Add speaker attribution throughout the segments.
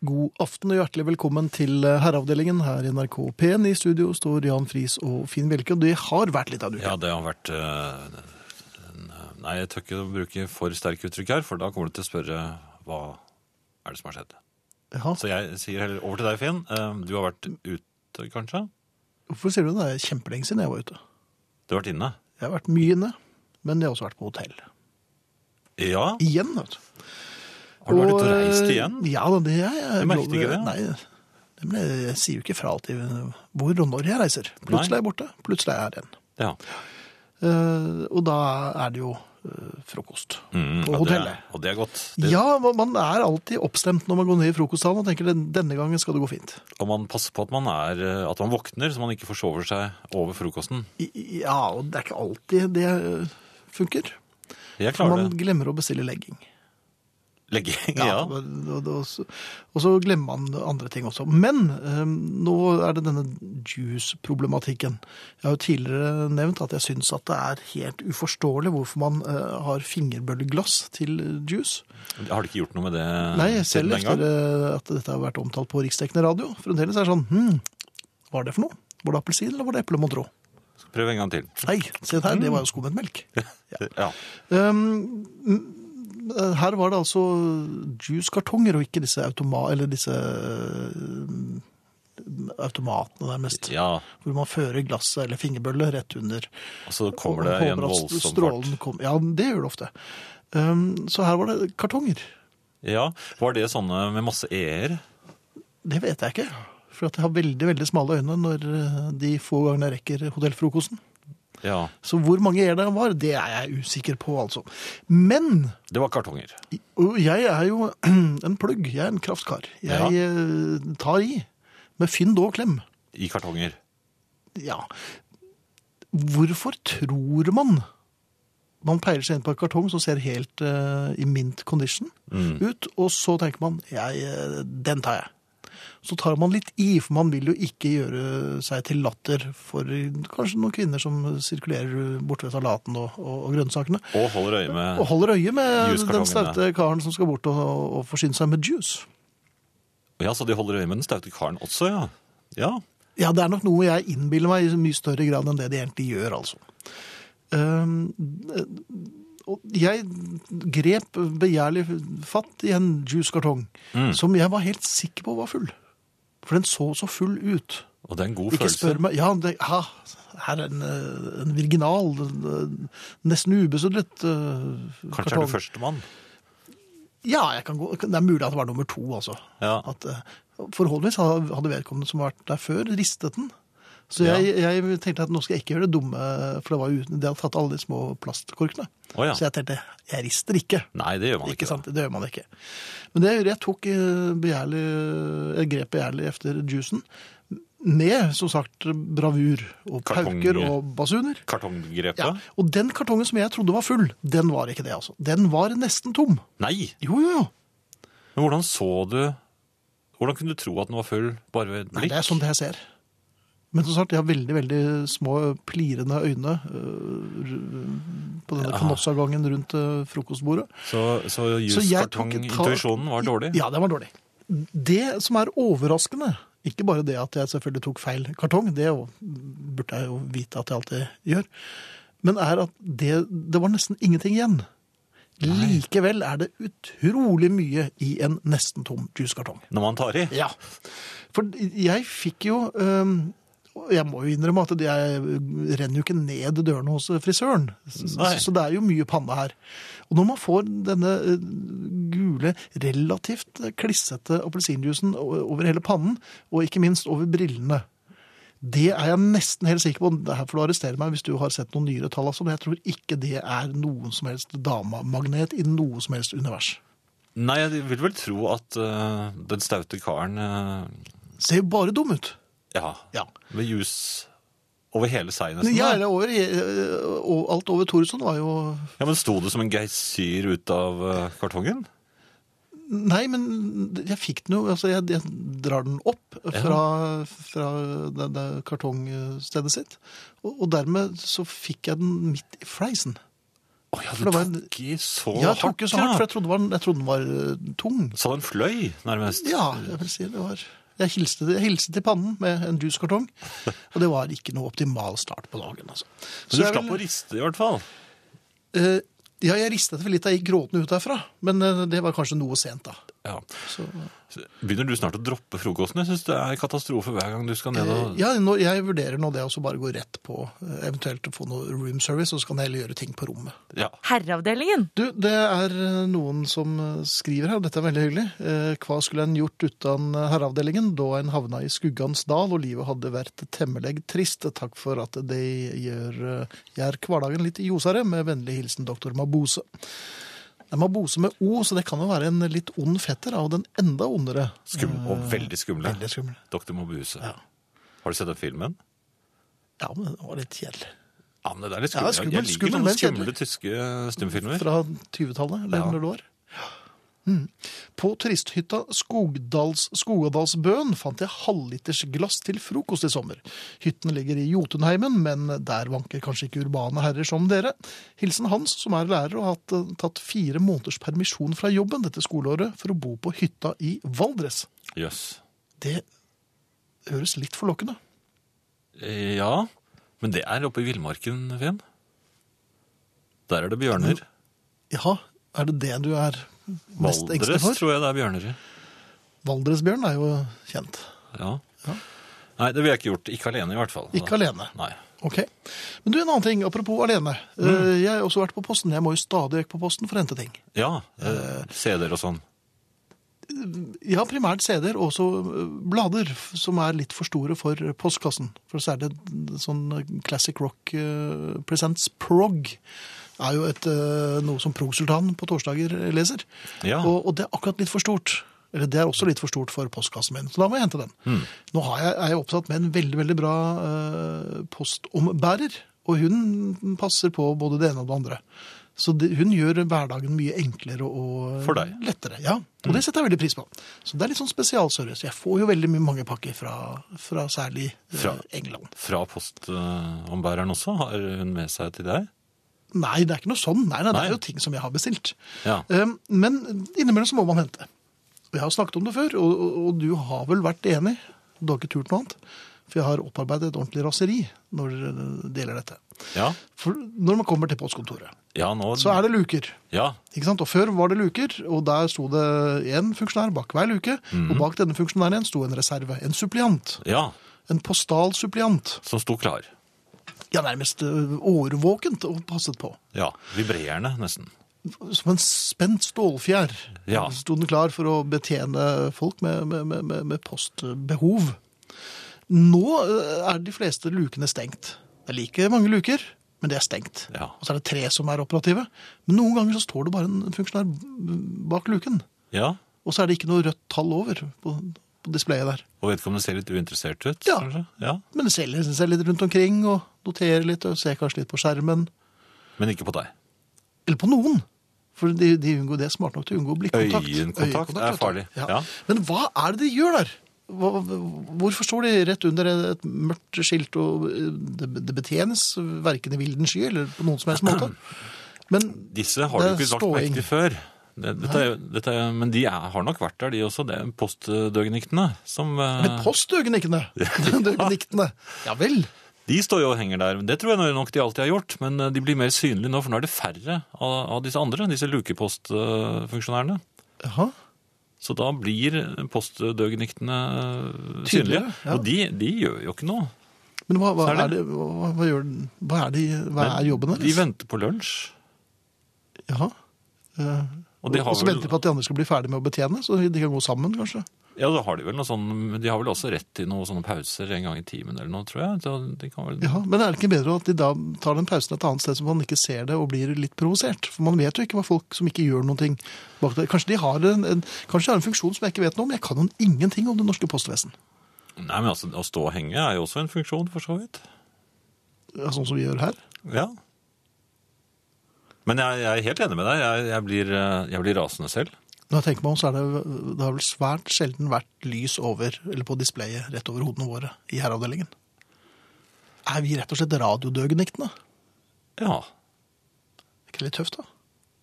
Speaker 1: God aften og hjertelig velkommen til eh, herreavdelingen her i NRK P1. I studio står Jan Friis og Finn Bjelke, og det har vært litt av en uke.
Speaker 2: Ja, det har vært eh, en- Nei, jeg tør ikke å bruke for sterke uttrykk her, for da kommer du til å spørre hva er det som har skjedd.
Speaker 1: Jaha,
Speaker 2: Så jeg sier heller over til deg, Finn. Eh, Du har vært ute, kanskje?
Speaker 1: Hvorfor sier du det? Det er kjempelenge siden jeg var ute.
Speaker 2: Du har vært inne?
Speaker 1: Jeg har vært mye inne, men jeg har også vært på hotell.
Speaker 2: Ja.
Speaker 1: Igjen, vet du.
Speaker 2: Har du vært ute og
Speaker 1: eh,
Speaker 2: reist igjen?
Speaker 1: Ja, da, det er jeg.
Speaker 2: Jeg merket ikke det.
Speaker 1: Nei, det- men jeg, jeg sier jo ikke fra alltid eh, hvor og når jeg reiser. Plutselig er jeg borte, plutselig er jeg her igjen.
Speaker 2: Ja.
Speaker 1: Eh, og da er det jo eh, frokost
Speaker 2: Mm,
Speaker 1: på
Speaker 2: ja, det er-
Speaker 1: hotellet.
Speaker 2: Og det er godt. Det,
Speaker 1: Ja, man man er alltid oppstemt når man går ned i frokostsalen og tenker "Den- denne gangen skal det gå fint.
Speaker 2: Og man passer på at man, er, eh, at man våkner, så man ikke forsover seg over frokosten.
Speaker 1: I- Ja, og det er ikke alltid det øh, funker.
Speaker 2: Jeg
Speaker 1: For
Speaker 2: klarer
Speaker 1: man
Speaker 2: det.
Speaker 1: glemmer å bestille legging.
Speaker 2: Legging, ja.
Speaker 1: Og, og, og, så- og så glemmer man andre ting også. Men øhm, nå er det denne juice-problematikken. Jeg har jo tidligere nevnt at jeg syns at det er helt uforståelig hvorfor man øh, har fingerbølleglass til juice.
Speaker 2: Har du ikke gjort noe med det
Speaker 1: Nei, selv
Speaker 2: siden den
Speaker 1: etter
Speaker 2: gang?
Speaker 1: øh, at dette har vært omtalt på riksdekkende radio. Fremdeles er det sånn hm, hva er det for noe? Var det appelsin, eller var det eplemontrå?
Speaker 2: Prøv en gang til.
Speaker 1: Nei, se her,
Speaker 2: Mm.
Speaker 1: det var jo skummet melk.
Speaker 2: Ja.
Speaker 1: Um, m- her var det altså juicekartonger og ikke disse, automa eller disse eh, um, automatene der mest.
Speaker 2: ja.
Speaker 1: Hvor man fører glasset eller fingerbølle rett under.
Speaker 2: Og så kommer
Speaker 1: og
Speaker 2: det i en
Speaker 1: håper at
Speaker 2: voldsom fart.
Speaker 1: strålen kommer- Ja, det gjør det ofte. Um, så her var det kartonger.
Speaker 2: Ja, Var det sånne med masse e-er?
Speaker 1: Det vet jeg ikke. For at jeg har veldig veldig smale øyne når eh, de få gangene jeg rekker hotellfrokosten.
Speaker 2: Ja.
Speaker 1: Så hvor mange er det var, det er jeg usikker på, altså. Men
Speaker 2: Det var kartonger.
Speaker 1: Og jeg er jo en plugg, jeg er en kraftkar. Jeg
Speaker 2: Ja.
Speaker 1: eh, tar i med fynd og klem.
Speaker 2: I kartonger.
Speaker 1: Ja. Hvorfor tror man man peiler seg inn på en kartong som ser helt eh, i mint condition ut, og så tenker man jeg, eh, den tar jeg. Så tar man litt i, for man vil jo ikke gjøre seg til latter for eh, kanskje noen kvinner som sirkulerer borte ved salaten og, og, og grønnsakene.
Speaker 2: Og holder øye med
Speaker 1: Og holder øye med
Speaker 2: Juicekartongene.
Speaker 1: den staute karen som skal bort og, og forsyne seg med juice.
Speaker 2: Ja, så de holder øye med den staute karen også, ja. Ja,
Speaker 1: Ja, det er nok noe jeg innbiller meg i mye større grad enn det de egentlig gjør, altså. Ehm, og jeg grep begjærlig fatt i en juicekartong
Speaker 2: Mm.
Speaker 1: som jeg var helt sikker på var full. For den så så full ut.
Speaker 2: Og det er en god
Speaker 1: Ikke
Speaker 2: følelse.
Speaker 1: spør meg Ja, det, ha, her er en, eh, en virginal, eh, nesten ubesudlet eh,
Speaker 2: Kanskje er du førstemann.
Speaker 1: Ja, jeg kan gå. det er mulig at det var nummer to, altså.
Speaker 2: Ja.
Speaker 1: At, eh, forholdsvis hadde hadde vedkommende som har vært der før, ristet den. Så jeg, jeg tenkte at nå skal jeg ikke gjøre det dumme, for det, var jo, det hadde tatt alle de små plastkorkene.
Speaker 2: Å, ja.
Speaker 1: Så jeg tenkte jeg rister ikke.
Speaker 2: Nei, det gjør man
Speaker 1: Ikke
Speaker 2: ikke.
Speaker 1: sant? Det gjør man ikke. Men det jeg gjorde, jeg tok eh, begjærlig, jeg grep begjærlig efter juicen, med, som sagt, bravur og
Speaker 2: Kartong-
Speaker 1: pauker og basuner.
Speaker 2: Kartonggrepet?
Speaker 1: Ja. Og den kartongen som jeg trodde var full, den var ikke det, altså. Den var nesten tom.
Speaker 2: Nei!
Speaker 1: Jo, jo, jo.
Speaker 2: Men hvordan så du Hvordan kunne du tro at den var full bare ved et
Speaker 1: Nei,
Speaker 2: blikk?
Speaker 1: det er sånn det jeg ser. Men som sagt, jeg har veldig, veldig små plirende øyne øh, på denne
Speaker 2: Ah.
Speaker 1: kanossagangen rundt øh, frokostbordet.
Speaker 2: Så,
Speaker 1: Så
Speaker 2: så
Speaker 1: jeg tok-
Speaker 2: juskartongintuisjonen var dårlig?
Speaker 1: Ja, den var dårlig. Det som er overraskende, ikke bare det at jeg selvfølgelig tok feil kartong, det jo- burde jeg jo vite at jeg alltid gjør, men er at det, det var nesten ingenting igjen. Likevel er det utrolig mye i en nesten tom juicekartong.
Speaker 2: Når man tar i?
Speaker 1: Ja. For jeg fikk jo øhm, og Jeg må jo innrømme at jeg renner jo ikke ned dørene hos øh, frisøren. Så,
Speaker 2: Nei.
Speaker 1: så det er jo mye panne her. Og når man får denne øh, gule, relativt øh, klissete appelsinjuicen o- over hele pannen, og ikke minst over brillene det er jeg nesten helt sikker på. Det her får du arrestere meg hvis du har sett noen nyere tall. Altså, men jeg tror ikke det er noen som helst damemagnet i noe som helst univers.
Speaker 2: Nei, jeg vil vel tro at eh, den staute karen eh,
Speaker 1: Ser jo bare dum ut.
Speaker 2: Ja.
Speaker 1: Ja.
Speaker 2: Med jus over hele seg, nesten.
Speaker 1: Ja,
Speaker 2: da.
Speaker 1: eller over, eh, og alt over Thoresson var jo
Speaker 2: Ja, men Sto det som en geysir ut av eh, kartongen?
Speaker 1: Nei, men jeg fikk den jo altså Jeg, jeg drar den opp fra, fra det, det kartongstedet sitt. Og, og dermed så fikk jeg den midt i fleisen.
Speaker 2: Å ja,
Speaker 1: For
Speaker 2: du
Speaker 1: det var en-
Speaker 2: tok i så
Speaker 1: Ja, jeg tok
Speaker 2: hardt,
Speaker 1: ikke så hardt, for jeg trodde, den var, jeg trodde den var eh, tung.
Speaker 2: Så den fløy, nærmest.
Speaker 1: Ja, jeg vil si det var Jeg hilste, jeg hilste til pannen med en juskartong, og det var ikke noe optimal start på dagen, altså.
Speaker 2: Men du slapp å riste, i hvert fall.
Speaker 1: Eh, ja, jeg ristet vel litt da jeg gikk gråtende ut derfra, men eh, det var kanskje noe sent da.
Speaker 2: Ja.
Speaker 1: Så,
Speaker 2: Begynner du snart å droppe frokosten? Jeg syns det er katastrofe hver gang du skal ned
Speaker 1: eh,
Speaker 2: og
Speaker 1: ja, nå, jeg vurderer nå det å så bare gå rett på, eh, eventuelt få noe room service, og så kan jeg heller gjøre ting på rommet.
Speaker 2: Eh, Ja.
Speaker 3: Herreavdelingen.
Speaker 1: Du, det er eh, noen som eh, skriver her, og dette er veldig hyggelig. Eh, Hva skulle en gjort uten eh, herreavdelingen da en havna i skuggans dal og livet hadde vært temmelegg trist? Takk for at de gjør, eh, gjør hverdagen litt ljosere. Med vennlig hilsen doktor Mabose. Det er Mabose med O, så det kan jo være en litt ond fetter av den enda ondere. Eh,
Speaker 2: Skum, og Mm. veldig skumle.
Speaker 1: Veldig skummel.
Speaker 2: Doktor Mobuse. Har du sett den filmen?
Speaker 1: Ja, men det var litt kjedelig.
Speaker 2: Ja, men det er litt
Speaker 1: Ja,
Speaker 2: skummelt.
Speaker 1: skummel,
Speaker 2: jeg liker
Speaker 1: skummel,
Speaker 2: sånne
Speaker 1: men
Speaker 2: skumle tyske stumfilmer.
Speaker 1: Fra 20-tallet, eller
Speaker 2: Ja.
Speaker 1: 100 år. Mm. På turisthytta Skogdals, Skogadalsbøen fant jeg halvliters glass til frokost i sommer. Hytten ligger i Jotunheimen, men der vanker kanskje ikke urbane herrer som dere. Hilsen Hans, som er lærer og har hatt, eh, tatt fire måneders permisjon fra jobben dette skoleåret for å bo på hytta i Valdres.
Speaker 2: Jøss.
Speaker 1: Det høres litt forlokkende.
Speaker 2: Eh, Ja, men det er oppe i villmarken, Finn. Der er det bjørner.
Speaker 1: Ja, er det det du er Mm, mest engstelig
Speaker 2: Valdres
Speaker 1: for?
Speaker 2: tror jeg det er bjørner i.
Speaker 1: Valdresbjørn er jo kjent.
Speaker 2: Ja. Nei, det ville jeg ikke gjort. Ikke alene, i hvert fall.
Speaker 1: Ikke alene.
Speaker 2: Nei.
Speaker 1: Ok. Men du, en annen ting, apropos alene. Eh, Jeg har også vært på posten. Jeg må jo stadig vekk på posten for å hente ting.
Speaker 2: Ja, eh, CD-er og sånn.
Speaker 1: Jeg har primært CD-er og også eh, blader f- som er litt for store for postkassen. For særlig sånn Classic Rock eh, Presents Prog er jo et, eh, noe som Progsultan på torsdager leser.
Speaker 2: Ja.
Speaker 1: Og, og det er akkurat litt for stort. Eller det er også litt for stort for postkassen min, så da må jeg hente den.
Speaker 2: Mm.
Speaker 1: Nå har jeg, er jeg opptatt med en veldig, veldig bra eh, postombærer, og hun passer på både det ene og det andre. Så det, hun gjør hverdagen mye enklere og
Speaker 2: For deg.
Speaker 1: lettere. Ja, og det setter jeg veldig pris på. Så det er litt sånn spesialservice. Jeg får jo veldig mye mange pakker fra, fra særlig eh,
Speaker 2: Fra-
Speaker 1: England.
Speaker 2: Fra postombæreren også? Har hun med seg til deg?
Speaker 1: Nei, det er ikke noe sånn. Nei, nei, det
Speaker 2: Nei.
Speaker 1: er jo ting som jeg har bestilt.
Speaker 2: Ja.
Speaker 1: Um, Men innimellom så må man hente. Og Jeg har snakket om det før, og, og, og du har vel vært enig. Du har ikke turt noe annet. For jeg har opparbeidet et ordentlig raseri når det gjelder dette.
Speaker 2: Ja,
Speaker 1: For når man kommer til postkontoret,
Speaker 2: ja nå
Speaker 1: så er det luker.
Speaker 2: Ja,
Speaker 1: Ikke sant? Og Før var det luker, og der sto det én funksjonær bak hver luke. Og
Speaker 2: Mhm.
Speaker 1: bak denne funksjonæren igjen sto en reserve. En suppliant.
Speaker 2: ja,
Speaker 1: En postal suppliant.
Speaker 2: som sto klar.
Speaker 1: Ja, nærmest ø, årvåkent og passet på.
Speaker 2: Ja, vibrerende nesten.
Speaker 1: som en spent stålfjær.
Speaker 2: Ja.
Speaker 1: Sto den klar for å betjene folk med, med, med- med, med postbehov. Nå eh, er de fleste lukene stengt. Det er like mange luker, men det er stengt.
Speaker 2: Ja.
Speaker 1: Og så er det tre som er operative. Men noen ganger så står det bare en funksjonær bak luken.
Speaker 2: Ja,
Speaker 1: Og så er det ikke noe rødt tall over på, på displayet der.
Speaker 2: og vedkommende ser litt uinteressert ut.
Speaker 1: Ja.
Speaker 2: kanskje? ja.
Speaker 1: Men det selger seg litt rundt omkring og noterer litt og ser kanskje litt på skjermen.
Speaker 2: Men ikke på deg.
Speaker 1: Eller på noen. For de, de unngår det er smart nok til å unngå blikkontakt.
Speaker 2: Øyekontakt er
Speaker 1: vet du.
Speaker 2: farlig, ja.
Speaker 1: Men hva er det de gjør der? Hva, hvorfor står de rett under et mørkt skilt, og eh, det, det betjenes verken i vilden sky eller på noen som helst måte? Men
Speaker 2: Disse har
Speaker 1: Det
Speaker 2: du
Speaker 1: er
Speaker 2: ikke lagt merke
Speaker 1: ståing.
Speaker 2: til før. Det, dette, er jo- dette, er- men de er, har nok vært der, de også. Det er postdøgniktene som eh,
Speaker 1: med postøgenikkene! Døgeniktene. Ja vel.
Speaker 2: De står jo og henger der. Det tror jeg nok de alltid har gjort, men eh, de blir mer synlige nå, for nå er det færre av, av disse andre, disse lukepostfunksjonærene.
Speaker 1: Jaha.
Speaker 2: Så da blir postdøgniktene eh, synlige.
Speaker 1: Tydeligere, ja.
Speaker 2: Og de, de gjør jo ikke noe.
Speaker 1: Men hva, hva,
Speaker 2: Så er
Speaker 1: er det, hva, hva, gjør, den- hva, er, de, hva
Speaker 2: Men
Speaker 1: er jobben
Speaker 2: De
Speaker 1: deres?
Speaker 2: venter på lunsj.
Speaker 1: Jaha. Eh,
Speaker 2: Og de har
Speaker 1: og så
Speaker 2: vel-
Speaker 1: venter de på at de andre skal bli ferdig med å betjene, så de kan gå sammen, kanskje.
Speaker 2: Ja, da har de vel noe sånn De har vel også rett til noen sånne pauser en gang i timen eller noe, tror jeg. Så de kan vel...
Speaker 1: Ja, Men er det ikke bedre at de da tar den pausen et annet sted, så man ikke ser det og blir litt provosert? For man vet jo ikke hva folk som ikke gjør noen ting bak der Kanskje de har en, en, kanskje de har en funksjon som jeg ikke vet noe om? Jeg kan jo ingenting om det norske postvesen.
Speaker 2: Nei, men altså, å stå og henge er jo også en funksjon, for så vidt.
Speaker 1: Ja, Sånn som vi gjør her.
Speaker 2: Ja. Men jeg, jeg er helt enig med deg. Jeg, jeg, blir, eh, jeg blir rasende selv.
Speaker 1: Når jeg tenker meg om, så er det, det har vel svært sjelden vært lys over, eller på displayet rett over hodene våre i herreavdelingen. Er vi rett og slett radiodøgeniktene?
Speaker 2: Ja.
Speaker 1: Det er ikke litt tøft, da?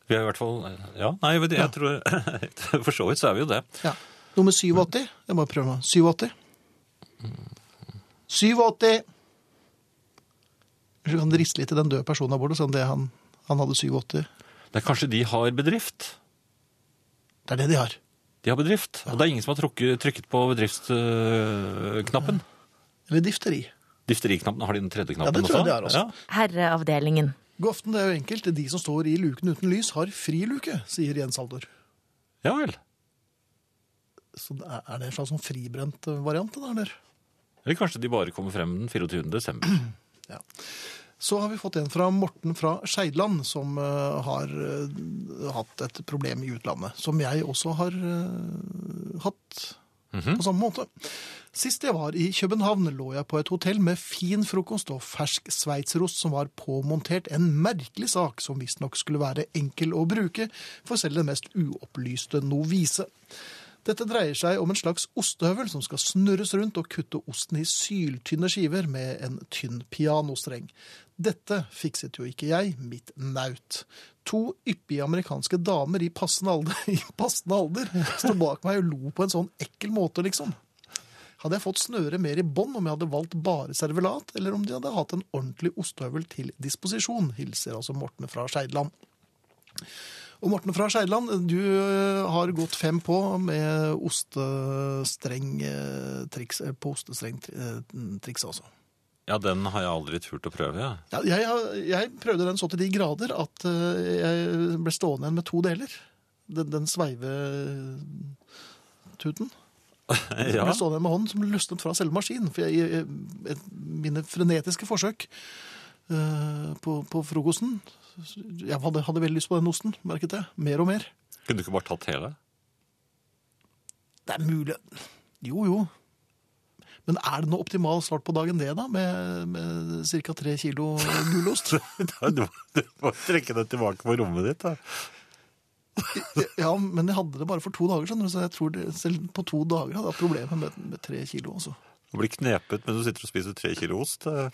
Speaker 2: Vi er i hvert fall Ja, nei, jeg, vet, jeg tror For så vidt så er vi jo det.
Speaker 1: Ja. Nummer 87. Jeg må prøve meg. 87. 87! Kanskje du kan riste litt i den døde personen der borte, sånn det han, han hadde 87.
Speaker 2: Det er kanskje de har bedrift.
Speaker 1: Det er det de har.
Speaker 2: De har bedrift. Og det er ingen som har trukket, trykket på bedriftsknappen.
Speaker 1: Eller difteri.
Speaker 2: Difteriknappen. Har de den tredje knappen
Speaker 1: Ja, det tror jeg de har også.
Speaker 3: Herreavdelingen.
Speaker 1: Goften, det er jo enkelt. De som står i luken uten lys, har fri luke, sier Jens Aldor.
Speaker 2: Ja, ja vel.
Speaker 1: Så det er er det en slags sånn fribrent eh, variant? det Der, eller?
Speaker 2: Eller kanskje de bare kommer frem den 24. desember.
Speaker 1: Så har vi fått en fra Morten fra Skeidland, som eh, har eh, hatt et problem i utlandet. Som jeg også har eh, hatt på samme måte. Sist jeg var i København, lå jeg på et hotell med fin frokost og fersk sveitserost som var påmontert en merkelig sak som visstnok skulle være enkel å bruke for selv den mest uopplyste novise. Dette dreier seg om en slags ostehøvel som skal snurres rundt og kutte osten i syltynne skiver med en tynn pianostreng. Dette fikset jo ikke jeg, mitt naut. To yppige amerikanske damer i passende alder, i passende alder sto bak meg og lo på en sånn ekkel måte, liksom. Hadde jeg fått snøre mer i bånd om jeg hadde valgt bare servelat, eller om de hadde hatt en ordentlig ostehøvel til disposisjon, hilser altså Morten fra Skeidland. Og Morten fra Skeidland, du eh, har gått fem på med ostestrengtriks, eh, på ostestrengtrikset også.
Speaker 2: Ja, den har jeg aldri turt å prøve. jeg.
Speaker 1: Ja, jeg, har- jeg prøvde den så til de grader at eh, jeg ble stående igjen med to deler. Den, den sveivetuten.
Speaker 2: Ja.
Speaker 1: Jeg ble stående igjen med hånden som løsnet fra selve maskinen. For jeg, jeg, et, mine frenetiske forsøk eh, på, på frokosten Jeg hadde, hadde veldig lyst på den osten, merket jeg. Mer og mer.
Speaker 2: Kunne du ikke bare tatt hele?
Speaker 1: Det er mulig. Jo, jo. Men er det noe optimal start på dagen det, da? Med, med ca. tre kilo gulost?
Speaker 2: Du må, trekke deg tilbake på rommet ditt. Da.
Speaker 1: Ja, men jeg hadde det bare for to dager, skjønner du. Så jeg tror det, selv på to dager hadde jeg hatt problemer med, med tre kilo. Altså.
Speaker 2: Du blir knepet mens du sitter og spiser tre kilo ost. eh. det-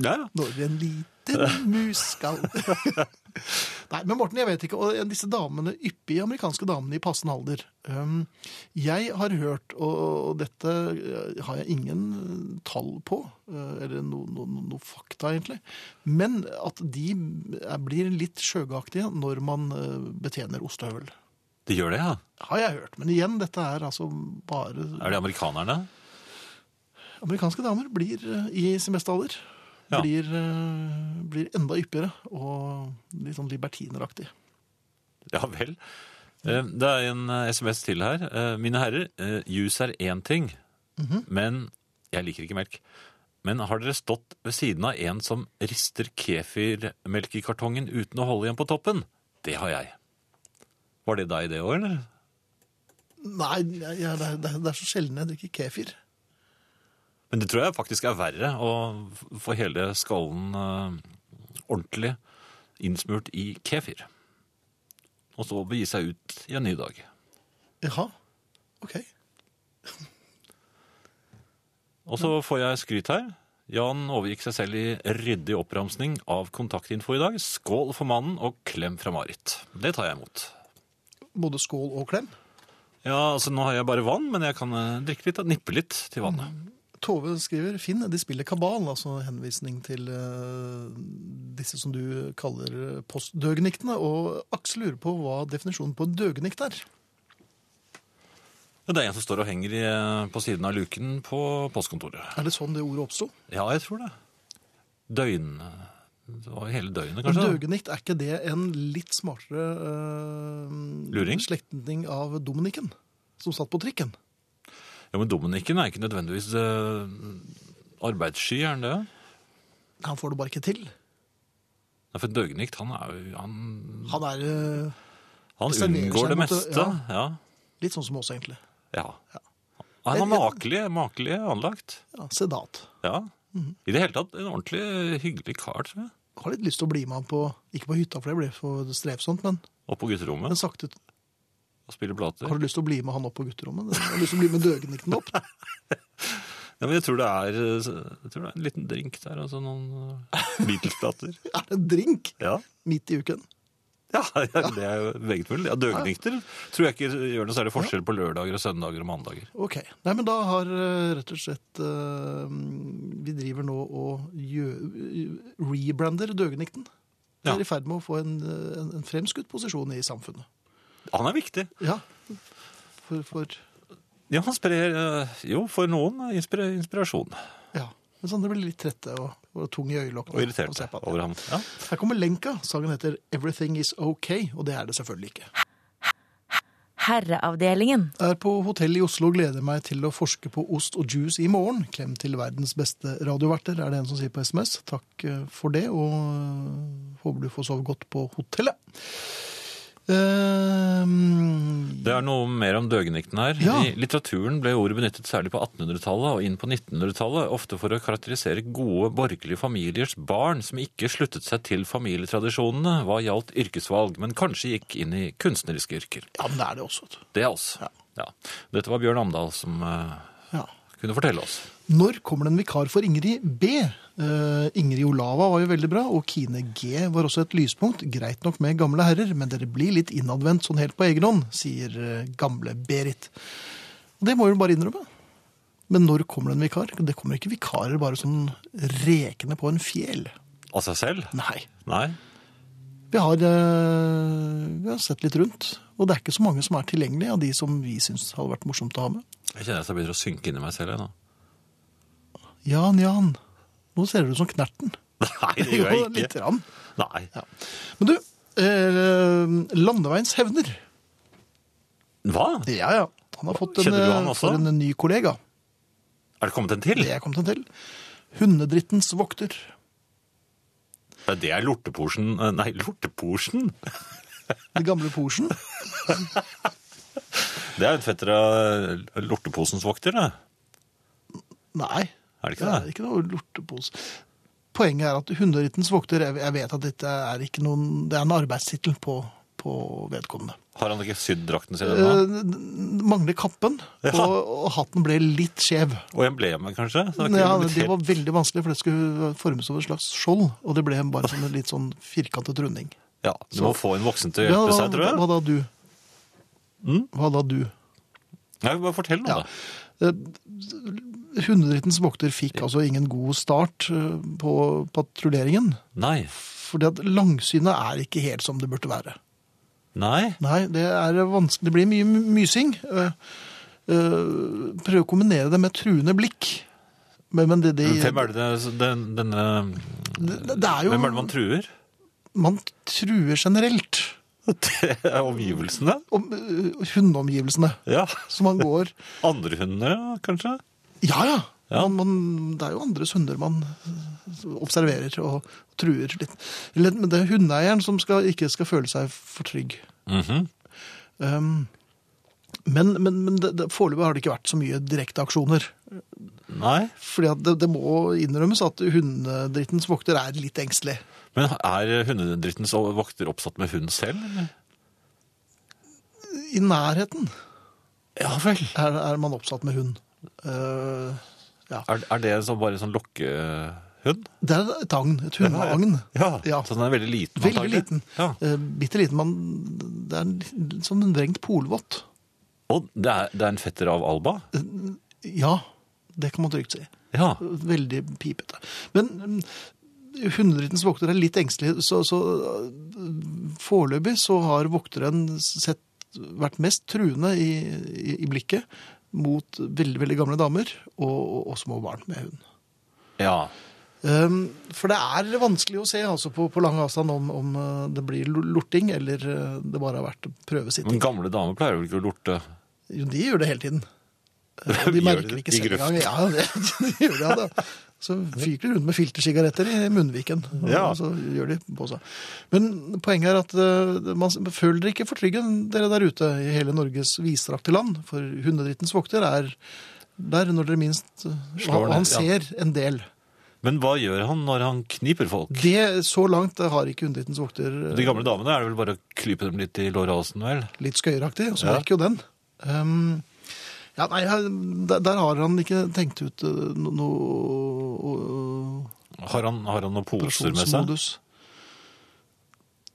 Speaker 2: Ja, ja.
Speaker 1: Når en liten mus skal Nei, men Morten, jeg vet ikke. Og disse damene, yppige amerikanske damene i passende alder. Øhm, jeg har hørt, og, og dette øh, har jeg ingen tall på, øh, eller noe no, no, noe fakta egentlig, men at de er- blir litt skjøgeaktige når man øh, betjener ostehøvel.
Speaker 2: De gjør det, ja.
Speaker 1: Har jeg hørt. Men igjen, dette er altså bare
Speaker 2: Er det amerikanerne?
Speaker 1: Amerikanske damer blir eh, i semesteralder
Speaker 2: Ja.
Speaker 1: blir, eh, blir enda yppigere og litt sånn libertineraktig.
Speaker 2: Ja vel. Eh, Det er en eh, SMS til her. Eh, Mine herrer, eh, juice er én ting, men Jeg liker ikke melk. Men har dere stått ved siden av en som rister kefirmelk i kartongen uten å holde igjen på toppen? Det har jeg. Var det deg det òg, eller?
Speaker 1: Nei, jeg, jeg, det, er- det, er- det er så sjelden jeg drikker kefir.
Speaker 2: Men det tror jeg faktisk er verre å f- få hele skallen eh, ordentlig innsmurt i kefir. Og så begi seg ut i en ny dag.
Speaker 1: Jaha, ok.
Speaker 2: Og så får jeg skryt her. Jan overgikk seg selv i ryddig oppramsning av kontaktinfo i dag. Skål for mannen og klem fra Marit. Det tar jeg imot.
Speaker 1: Både skål og klem.
Speaker 2: Ja, altså nå har jeg bare vann, men jeg kan eh, drikke litt og nippe litt til vannet.
Speaker 1: Tove skriver Finn, de spiller kabal, altså henvisning til eh, disse som du kaller postdøgniktene. Og Aksel lurer på hva definisjonen på døgnikt er.
Speaker 2: Men Det er en som står og henger i, eh, på siden av luken på postkontoret.
Speaker 1: Er det sånn det ordet oppsto?
Speaker 2: Ja, jeg tror det. Døgn... Det var hele døgnet,
Speaker 1: Men
Speaker 2: kanskje? da?
Speaker 1: Døgenikt, er ikke det en litt smartere eh,
Speaker 2: Luring?
Speaker 1: slektning av Dominiken, som satt på trikken?
Speaker 2: Ja, men Dominikken er ikke nødvendigvis eh, arbeidssky, er han det?
Speaker 1: Han får det bare ikke til.
Speaker 2: Nei, for Døgnikt, han, er, jo- han,
Speaker 1: Han er eh,
Speaker 2: han
Speaker 1: Reserverer seg
Speaker 2: unngår det
Speaker 1: mot
Speaker 2: meste.
Speaker 1: det,
Speaker 2: ja.
Speaker 1: litt sånn som oss, egentlig.
Speaker 2: Ja. Han er makelig, makelig anlagt.
Speaker 1: Ja, sedat.
Speaker 2: Ja. I det hele tatt en ordentlig hyggelig kar, tror jeg.
Speaker 1: Har litt lyst til å bli med han på Ikke på hytta, for det blir for strevsomt, men,
Speaker 2: Oppe på gutterommet
Speaker 1: men sakte.
Speaker 2: og spiller plater.
Speaker 1: Har du lyst til å bli med han opp på gutterommet? Har du lyst til å bli med døgenikten opp?
Speaker 2: Ja, men jeg tror det er, eh, jeg tror det er en liten drink der, altså noen eh, Beatles-plater.
Speaker 1: Er det en drink
Speaker 2: Ja.
Speaker 1: midt i uken?
Speaker 2: Ja, ja, det er jo meget mulig. Ja, Døgndikter tror jeg ikke gjør noe særlig forskjell på lørdager og søndager og mandager.
Speaker 1: Ok. Nei, men da har eh, rett og slett eh, Vi driver nå og gjø- eh, rebrander Døgenikten. Vi
Speaker 2: Ja.
Speaker 1: er i ferd med å få en, eh, en, en fremskutt posisjon i samfunnet.
Speaker 2: Han er viktig.
Speaker 1: Ja. For, for
Speaker 2: Ja, han sprer eh, jo for noen inspira- inspirasjon.
Speaker 1: Ja. Mens andre blir litt trette og, og tung i øyelokkene.
Speaker 2: Og
Speaker 1: av å
Speaker 2: irritert
Speaker 1: se på han.
Speaker 2: over ham. Ja.
Speaker 1: Her kommer lenka. Sangen heter 'Everything Is OK', og det er det selvfølgelig ikke.
Speaker 3: Herreavdelingen.
Speaker 1: Er på hotell i Oslo og gleder meg til å forske på ost og juice i morgen. Klem til verdens beste radioverter, er det en som sier på SMS. Takk eh, for det, og eh, håper du får sove godt på hotellet. Eh, Ehm,
Speaker 2: Det er noe mer om døgnikten her.
Speaker 1: Ja.
Speaker 2: I litteraturen ble ordet benyttet særlig på 1800-tallet og inn på 1900-tallet, ofte for å karakterisere gode borgerlige familiers barn som ikke sluttet seg til familietradisjonene hva gjaldt yrkesvalg, men kanskje gikk inn i kunstneriske yrker.
Speaker 1: ja, men det er det også. vet du.
Speaker 2: Det er oss. Ja. Dette var Bjørn Amdal som eh,
Speaker 1: Ja.
Speaker 2: kunne fortelle oss.
Speaker 1: Når kommer det en vikar for Ingrid B? Eh, Ingrid Olava var jo veldig bra, og Kine G var også et lyspunkt. Greit nok med gamle herrer, men dere blir litt innadvendt sånn helt på egen hånd, sier eh, gamle Berit. Og det må hun bare innrømme. Men når kommer det en vikar? Det kommer ikke vikarer bare sånn rekende på en fjell.
Speaker 2: Av seg selv?
Speaker 1: Nei.
Speaker 2: Nei.
Speaker 1: Vi har, eh, vi har sett litt rundt, og det er ikke så mange som er tilgjengelige av de som vi syns hadde vært morsomt å ha med.
Speaker 2: Jeg kjenner at jeg begynner å synke inn i meg selv jeg, nå.
Speaker 1: Jan, Jan, nå ser du ut som Knerten.
Speaker 2: Nei, det gjør
Speaker 1: Jo,
Speaker 2: jeg
Speaker 1: Litt
Speaker 2: ikke.
Speaker 1: rann.
Speaker 2: Nei.
Speaker 1: Men du, eh, landeveiens hevner.
Speaker 2: Hva?
Speaker 1: Ja, ja. Han har fått en,
Speaker 2: Kjenner du han
Speaker 1: eh,
Speaker 2: også?
Speaker 1: for en ny kollega.
Speaker 2: Er det kommet en til?
Speaker 1: Det er kommet han til. Hundedrittens vokter.
Speaker 2: Nei, Det er lorteporsen Nei, lorteporsen?
Speaker 1: Den gamle Porsen.
Speaker 2: Det er jo en fetter av lorteposens vokter, det.
Speaker 1: Nei.
Speaker 2: Er det ikke det?
Speaker 1: er ikke noe lortepose. Poenget er at hundedrittens vokter, jeg, jeg vet at dette er ikke noen, det er en arbeidstittel på, på vedkommende.
Speaker 2: Har han ikke sydd drakten sin ennå?
Speaker 1: Eh, n- mangler kappen,
Speaker 2: Ja.
Speaker 1: og, og hatten ble litt skjev.
Speaker 2: Og emblemet, kanskje? Så det er ikke
Speaker 1: Ja,
Speaker 2: blitt
Speaker 1: det
Speaker 2: helt-
Speaker 1: var veldig vanskelig, for det skulle formes som et slags skjold, og det ble bare sånn en litt sånn firkantet runding.
Speaker 2: ja, du må
Speaker 1: så-
Speaker 2: få en voksen til å hjelpe
Speaker 1: hva,
Speaker 2: seg, tror
Speaker 1: Hva
Speaker 2: jeg.
Speaker 1: da du?
Speaker 2: Mm?
Speaker 1: Hva da du?
Speaker 2: Nei, bare fortell noe,
Speaker 1: Ja.
Speaker 2: da.
Speaker 1: Eh, Hundedrittens vokter fikk altså ingen god start eh, på patruljeringen.
Speaker 2: Nei.
Speaker 1: Fordi at langsynet er ikke helt som det burde være.
Speaker 2: Nei.
Speaker 1: Nei, det er vanskelig. Det blir mye mysing. eh, eh, Prøv å kombinere det med truende blikk. Men, men det, det,
Speaker 2: Men Hvem er det det- den, denne
Speaker 1: det, det er jo
Speaker 2: Hvem er det man truer?
Speaker 1: man truer generelt.
Speaker 2: Det er omgivelsene?
Speaker 1: Om, eh, hundeomgivelsene.
Speaker 2: Ja.
Speaker 1: Så man går
Speaker 2: Andre hunder, kanskje?
Speaker 1: Ja, ja.
Speaker 2: Ja.
Speaker 1: Man, man, det er jo andres hunder man eh, observerer og truer litt. Eller, men det er hundeeieren som skal, ikke skal føle seg for trygg.
Speaker 2: Mhm.
Speaker 1: Um, men men, men det, det, foreløpig har det ikke vært så mye direkte aksjoner.
Speaker 2: Nei.
Speaker 1: Fordi at det, det må innrømmes at hundedrittens vokter er litt engstelig.
Speaker 2: Men er hundedrittens vokter oppsatt med hund selv? eller?
Speaker 1: I nærheten
Speaker 2: Ja vel.
Speaker 1: er, er man oppsatt med hund. Uh, ja.
Speaker 2: Er, er det så bare en sånn lokkehund?
Speaker 1: Det er et agn. Et hundeagn.
Speaker 2: Ja.
Speaker 1: Ja.
Speaker 2: Så den er veldig liten?
Speaker 1: Veldig
Speaker 2: antagelig.
Speaker 1: liten.
Speaker 2: Ja.
Speaker 1: Uh, Bitte liten. Man, det er litt som en vrengt polvott.
Speaker 2: Og det er, det er en fetter av Alba?
Speaker 1: Ja, det kan man trygt si.
Speaker 2: Ja.
Speaker 1: Veldig pipete. Men mm, hundedrittens vokter er litt engstelige, så, så mm, foreløpig så har vokteren sett, vært mest truende i, i, i blikket mot veldig, veldig gamle damer og, og, og små barn med hund.
Speaker 2: ja.
Speaker 1: Um, for det er vanskelig å se altså, på, på lang avstand om, om eh, det blir lo- lorting eller eh, det bare har vært prøvesitting.
Speaker 2: Men gamle damer pleier vel ikke å lorte?
Speaker 1: Jo, de gjør det hele tiden. Eh, og De
Speaker 2: Gjør
Speaker 1: merker
Speaker 2: de
Speaker 1: det ikke
Speaker 2: det? I
Speaker 1: selv engang. Ja, det, de gjør det, ja, da. Så fyker de rundt med filtersigaretter i munnviken, og
Speaker 2: Ja.
Speaker 1: så gjør de på seg. Men poenget er at eh, man føler dere ikke for trygge, dere der ute i hele Norges vidstrakte land. For hundedrittens vokter er der når dere minst
Speaker 2: Slår
Speaker 1: Og han
Speaker 2: ned, ja.
Speaker 1: ser en del.
Speaker 2: Men hva gjør han når han kniper folk?
Speaker 1: Det så langt eh, har ikke hundedrittens vokter eh,
Speaker 2: De gamle damene er det vel bare å klype dem litt i lårhalsen, vel?
Speaker 1: litt skøyeraktig, og så
Speaker 2: Ja.
Speaker 1: gikk jo den. Um, Ja, nei, her- der, der har han ikke tenkt ut eh, no- noe
Speaker 2: Har han, har han noen poser med seg?
Speaker 1: operasjonsmodus.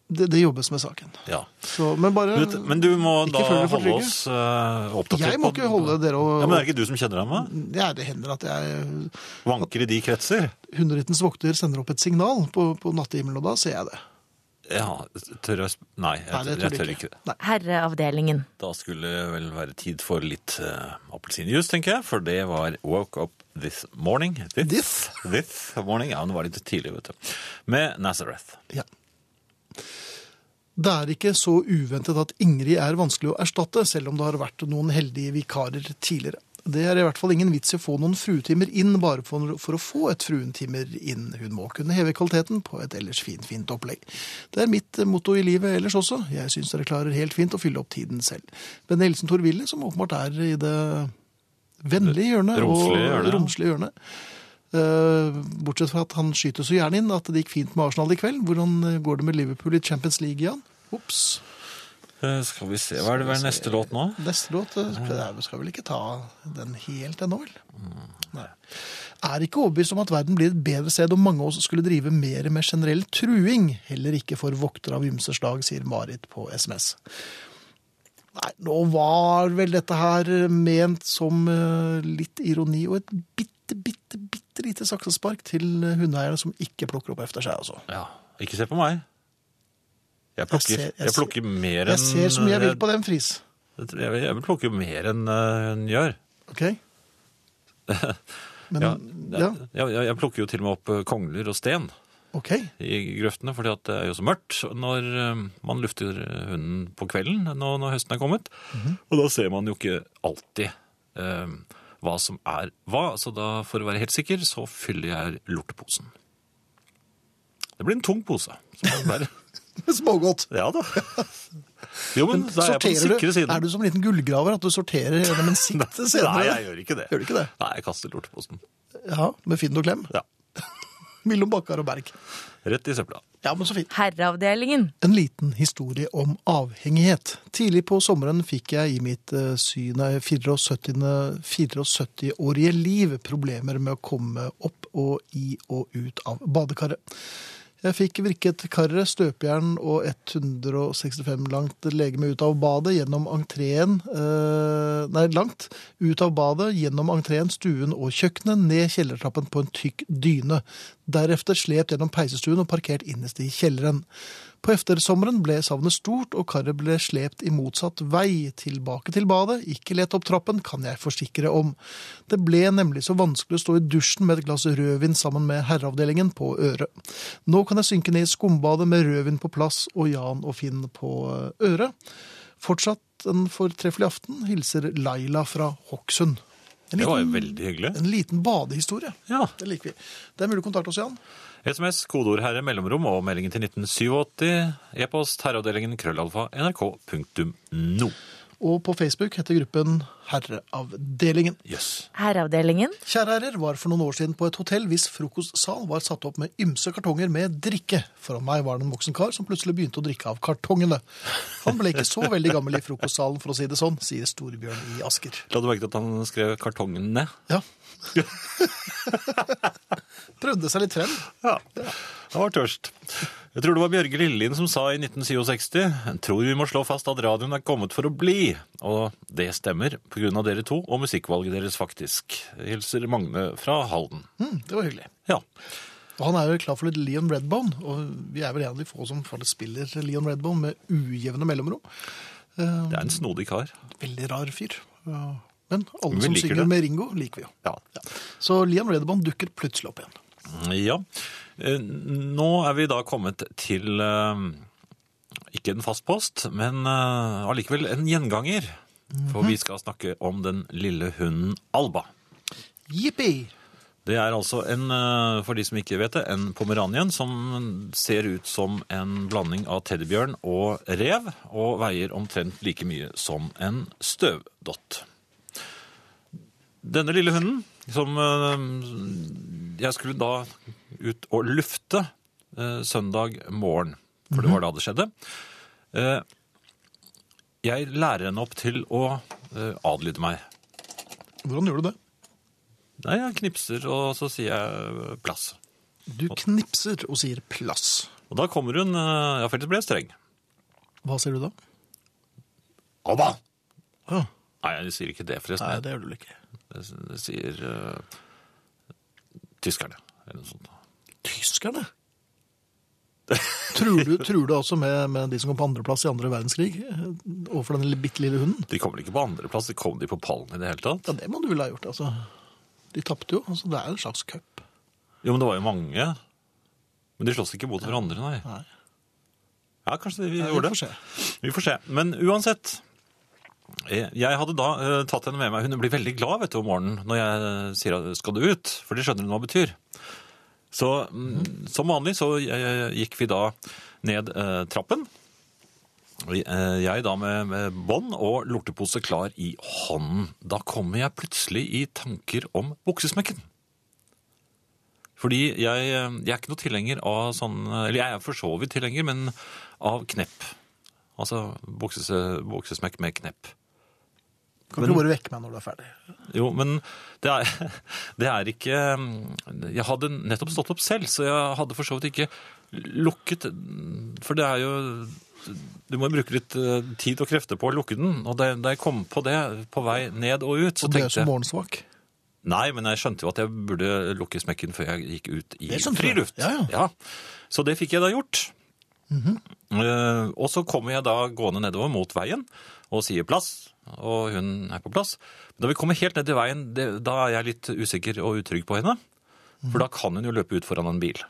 Speaker 1: Det, det jobbes med saken.
Speaker 2: Ja.
Speaker 1: Så, men bare
Speaker 2: Men, men du må
Speaker 1: Ikke
Speaker 2: da
Speaker 1: føl dere for
Speaker 2: holde
Speaker 1: trygge.
Speaker 2: oss eh, oppdatert.
Speaker 1: Jeg må
Speaker 2: på-
Speaker 1: ikke holde dere og
Speaker 2: ja, Men det er ikke du som kjenner ham? da?
Speaker 1: Ja, det hender at jeg
Speaker 2: Vanker i de kretser?
Speaker 1: Hundrettens vokter sender opp et signal på, på nattehimmelen, og da ser jeg det.
Speaker 2: Ja, tør jeg sp- Nei, jeg,
Speaker 1: Nei, det
Speaker 2: jeg
Speaker 1: tør
Speaker 2: tør
Speaker 1: du
Speaker 2: ikke.
Speaker 1: ikke. Nei.
Speaker 3: Herreavdelingen.
Speaker 2: Da skulle det vel være tid for litt eh, appelsinjuice, tenker jeg. For det var Woke Up This Morning. This,
Speaker 1: This?
Speaker 2: This morning. Ja, men det var litt tidlig, vet du. Med Nazareth.
Speaker 1: Ja. Det er ikke så uventet at Ingrid er vanskelig å erstatte, selv om det har vært noen heldige vikarer tidligere. Det er i hvert fall ingen vits i å få noen fruetimer inn bare for, for å få et fruentimer inn. Hun må kunne heve kvaliteten på et ellers fint, fint opplegg. Det er mitt eh, motto i livet ellers også. Jeg syns dere klarer helt fint å fylle opp tiden selv. Men Elsen Thorville, som åpenbart er i det vennlige hjørnet
Speaker 2: Romslige hjørnet,
Speaker 1: og
Speaker 2: ja.
Speaker 1: romslige hjørnet, Eh, Bortsett fra at han skyter så gjerne inn at det gikk fint med Arsenal i kveld. Hvordan eh, går det med Liverpool i Champions League igjen? Ops.
Speaker 2: Eh, skal vi se, Hva er det vel neste låt nå?
Speaker 1: Neste låt eh, skal, nei, vi skal vel ikke ta den helt ennå, vel? Nei. Er ikke overbevist om at verden blir et bedre sted om mange av oss skulle drive mer med generell truing. Heller ikke for voktere av ymse slag, sier Marit på SMS. Nei, nå var vel dette her eh, ment som eh, litt ironi og et bitte, bitte, bitte lite saksespark til eh, hundeeierne som ikke plukker opp efter seg, altså.
Speaker 2: Ja, Ikke se på meg. Jeg
Speaker 1: Jeg
Speaker 2: plukker,
Speaker 1: ser-
Speaker 2: jeg
Speaker 1: jeg ser-
Speaker 2: plukker mer enn
Speaker 1: Jeg ser så mye jeg
Speaker 2: eh,
Speaker 1: vil på den, Friis.
Speaker 2: Jeg, tror jeg, jeg vil plukke mer enn eh, hun gjør.
Speaker 1: Ok? Men,
Speaker 2: Ja,
Speaker 1: ja,
Speaker 2: Jeg, jeg, jeg plukker jo til og med opp eh, kongler og sten
Speaker 1: ok.
Speaker 2: i grøftene, fordi at det er jo så mørkt når eh, man lufter eh, hunden på kvelden når, når høsten er kommet.
Speaker 1: Mhm.
Speaker 2: Og da ser man jo ikke alltid eh, hva som er hva, så da for å være helt sikker, så fyller jeg lorteposen. Det blir en tung pose. som er der.
Speaker 1: Smågodt.
Speaker 2: Ja da. Jo, men da er jeg på den
Speaker 1: Sorterer
Speaker 2: sikre
Speaker 1: du,
Speaker 2: siden.
Speaker 1: er du som en liten gullgraver at du sorterer gjennom en sikte senere?
Speaker 2: Nei, jeg gjør ikke det.
Speaker 1: Gjør du ikke det?
Speaker 2: Nei, jeg kaster lorteposen.
Speaker 1: Ja, med Finn og Klem.
Speaker 2: Ja.
Speaker 1: Mellom Bakkar og Berg.
Speaker 2: Rett i søpla.
Speaker 1: Ja, men så fint.
Speaker 3: Herreavdelingen.
Speaker 1: En liten historie om avhengighet. Tidlig på sommeren fikk jeg i mitt eh, sy- nei, 74. 74-årige liv problemer med å komme opp og i og ut av badekaret. Jeg fikk vrikket karret, støpejern og 165 langt legeme ut av badet gjennom entreen eh, Nei, langt. Ut av badet, gjennom entreen, stuen og kjøkkenet, ned kjellertrappen på en tykk dyne. Deretter slept gjennom peisestuen og parkert innerst i kjelleren. På eftersommeren ble savnet stort, og karret ble slept i motsatt vei. Tilbake til badet, ikke lett opp trappen, kan jeg forsikre om. Det ble nemlig så vanskelig å stå i dusjen med et glass rødvin sammen med herreavdelingen på øret. Nå kan jeg synke ned i skumbadet med rødvin på plass og Jan og Finn på øret. Fortsatt en fortreffelig aften, hilser Laila fra Hokksund. En
Speaker 2: Det var jo
Speaker 1: liten,
Speaker 2: veldig hyggelig.
Speaker 1: en liten badehistorie.
Speaker 2: Ja.
Speaker 1: Det liker vi. Det er mulig å kontakte oss, Jan.
Speaker 2: SMS, kodeord herre, mellomrom og meldingen til 1987. E-post herreavdelingen krøllalfa nrk.no.
Speaker 1: Og på Facebook heter gruppen Herreavdelingen.
Speaker 2: Jøss.
Speaker 3: Herreavdelingen.
Speaker 1: Kjære herrer, var for noen år siden på et hotell hvis frokostsal var satt opp med ymse kartonger med drikke. Foran meg var det en voksen kar som plutselig begynte å drikke av kartongene. Han ble ikke så veldig gammel i frokostsalen, for å si det sånn, sier Storbjørn i Asker.
Speaker 2: La du merke til at han skrev kartongen ned?
Speaker 1: Ja. Prøvde seg litt frem.
Speaker 2: Ja. Han var tørst. Jeg tror det var Bjørge Lillelien som sa i 1967 tror vi må slå fast at radioen er kommet for å bli. Og det stemmer, på grunn av dere to og musikkvalget deres, faktisk. Hilser Magne fra Halden.
Speaker 1: Mm, det var hyggelig.
Speaker 2: Ja.
Speaker 1: Og han er jo klar for litt Leon Redbone, og vi er vel en av de få som faktisk spiller Leon Redbone med ujevne mellomrom. Eh,
Speaker 2: Det er en snodig kar.
Speaker 1: Veldig rar fyr. Eh, Men alle
Speaker 2: Men vi
Speaker 1: som
Speaker 2: liker
Speaker 1: synger
Speaker 2: det.
Speaker 1: med Ringo, liker vi jo.
Speaker 2: Ja.
Speaker 1: Så Leon Redbone dukker plutselig opp igjen.
Speaker 2: Ja. Eh, Nå er vi da kommet til eh, ikke en fast post, men eh, allikevel en gjenganger. For vi skal snakke om den lille hunden Alba.
Speaker 1: Jippi!
Speaker 2: Det er altså en, eh, for de som ikke vet det, en pomeranien som ser ut som en blanding av teddybjørn og rev, og veier omtrent like mye som en støvdott. Denne lille hunden, som eh, jeg skulle da ut og lufte eh, søndag morgen, for det var da det skjedde. Eh, Jeg lærer henne opp til å eh, adlyde meg.
Speaker 1: Hvordan gjør du det?
Speaker 2: Nei, jeg knipser, og så sier jeg plass.
Speaker 1: Du knipser og sier plass.
Speaker 2: Og da kommer hun eh, Ja, for ellers blir jeg streng.
Speaker 1: Hva sier du da?
Speaker 2: Abba!
Speaker 1: Å,
Speaker 2: Nei, jeg sier ikke det, forresten.
Speaker 1: nei, det gjør du vel ikke.
Speaker 2: Jeg- Jeg sier eh, tyskerne, eller noe sånt.
Speaker 1: Tyskerne? tror, du, tror du altså med, med de som kom på andreplass i andre verdenskrig, eh, overfor den bitte lille hunden?
Speaker 2: De kommer ikke på andreplass, de kom de på pallen i det hele tatt.
Speaker 1: Ja, det må du vel ha gjort, altså. De tapte jo, altså det er en slags cup.
Speaker 2: Jo, men det var jo mange. Men de slåss ikke mot hverandre, nei.
Speaker 1: Nei.
Speaker 2: Ja, kanskje de
Speaker 1: Ja, vi
Speaker 2: gjorde
Speaker 1: får
Speaker 2: det.
Speaker 1: se.
Speaker 2: Vi får se. Men uansett. eh, Jeg hadde da eh, tatt henne med meg. Hun blir veldig glad vet du, om morgenen når jeg eh, sier at skal du ut, for de skjønner hun hva det betyr. Så mm, som vanlig så eh, gikk vi da ned eh, trappen. Og, eh, Jeg da med, med bånd og lortepose klar i hånden. Da kommer jeg plutselig i tanker om buksesmekken. Fordi jeg, eh, jeg er ikke noe tilhenger av sånn Eller jeg er for så vidt tilhenger, men av knepp. Altså bukses, buksesmekk med knepp.
Speaker 1: Kan ikke du bare vekke meg når du er ferdig?
Speaker 2: Jo, men det er, det er ikke mm, Jeg hadde nettopp stått opp selv, så jeg hadde for så vidt ikke lukket For det er jo Du må jo bruke litt eh, tid og krefter på å lukke den. Og da jeg- da jeg kom på det, på vei ned og ut, så
Speaker 1: Og du er jo
Speaker 2: tenkte
Speaker 1: så
Speaker 2: jeg
Speaker 1: morgensvak.
Speaker 2: Nei, men jeg skjønte jo at jeg burde lukke smekken før jeg gikk ut i
Speaker 1: Det skjønte du.
Speaker 2: friluft.
Speaker 1: Ja, Mhm. ja.
Speaker 2: Så det fikk jeg da gjort. Eh, og så kommer jeg da gående nedover mot veien og sier plass, og hun er på plass. Men da vi kommer helt ned i veien, det, da er jeg litt usikker og utrygg på henne.
Speaker 1: Mhm.
Speaker 2: For da kan hun jo løpe ut foran en bil.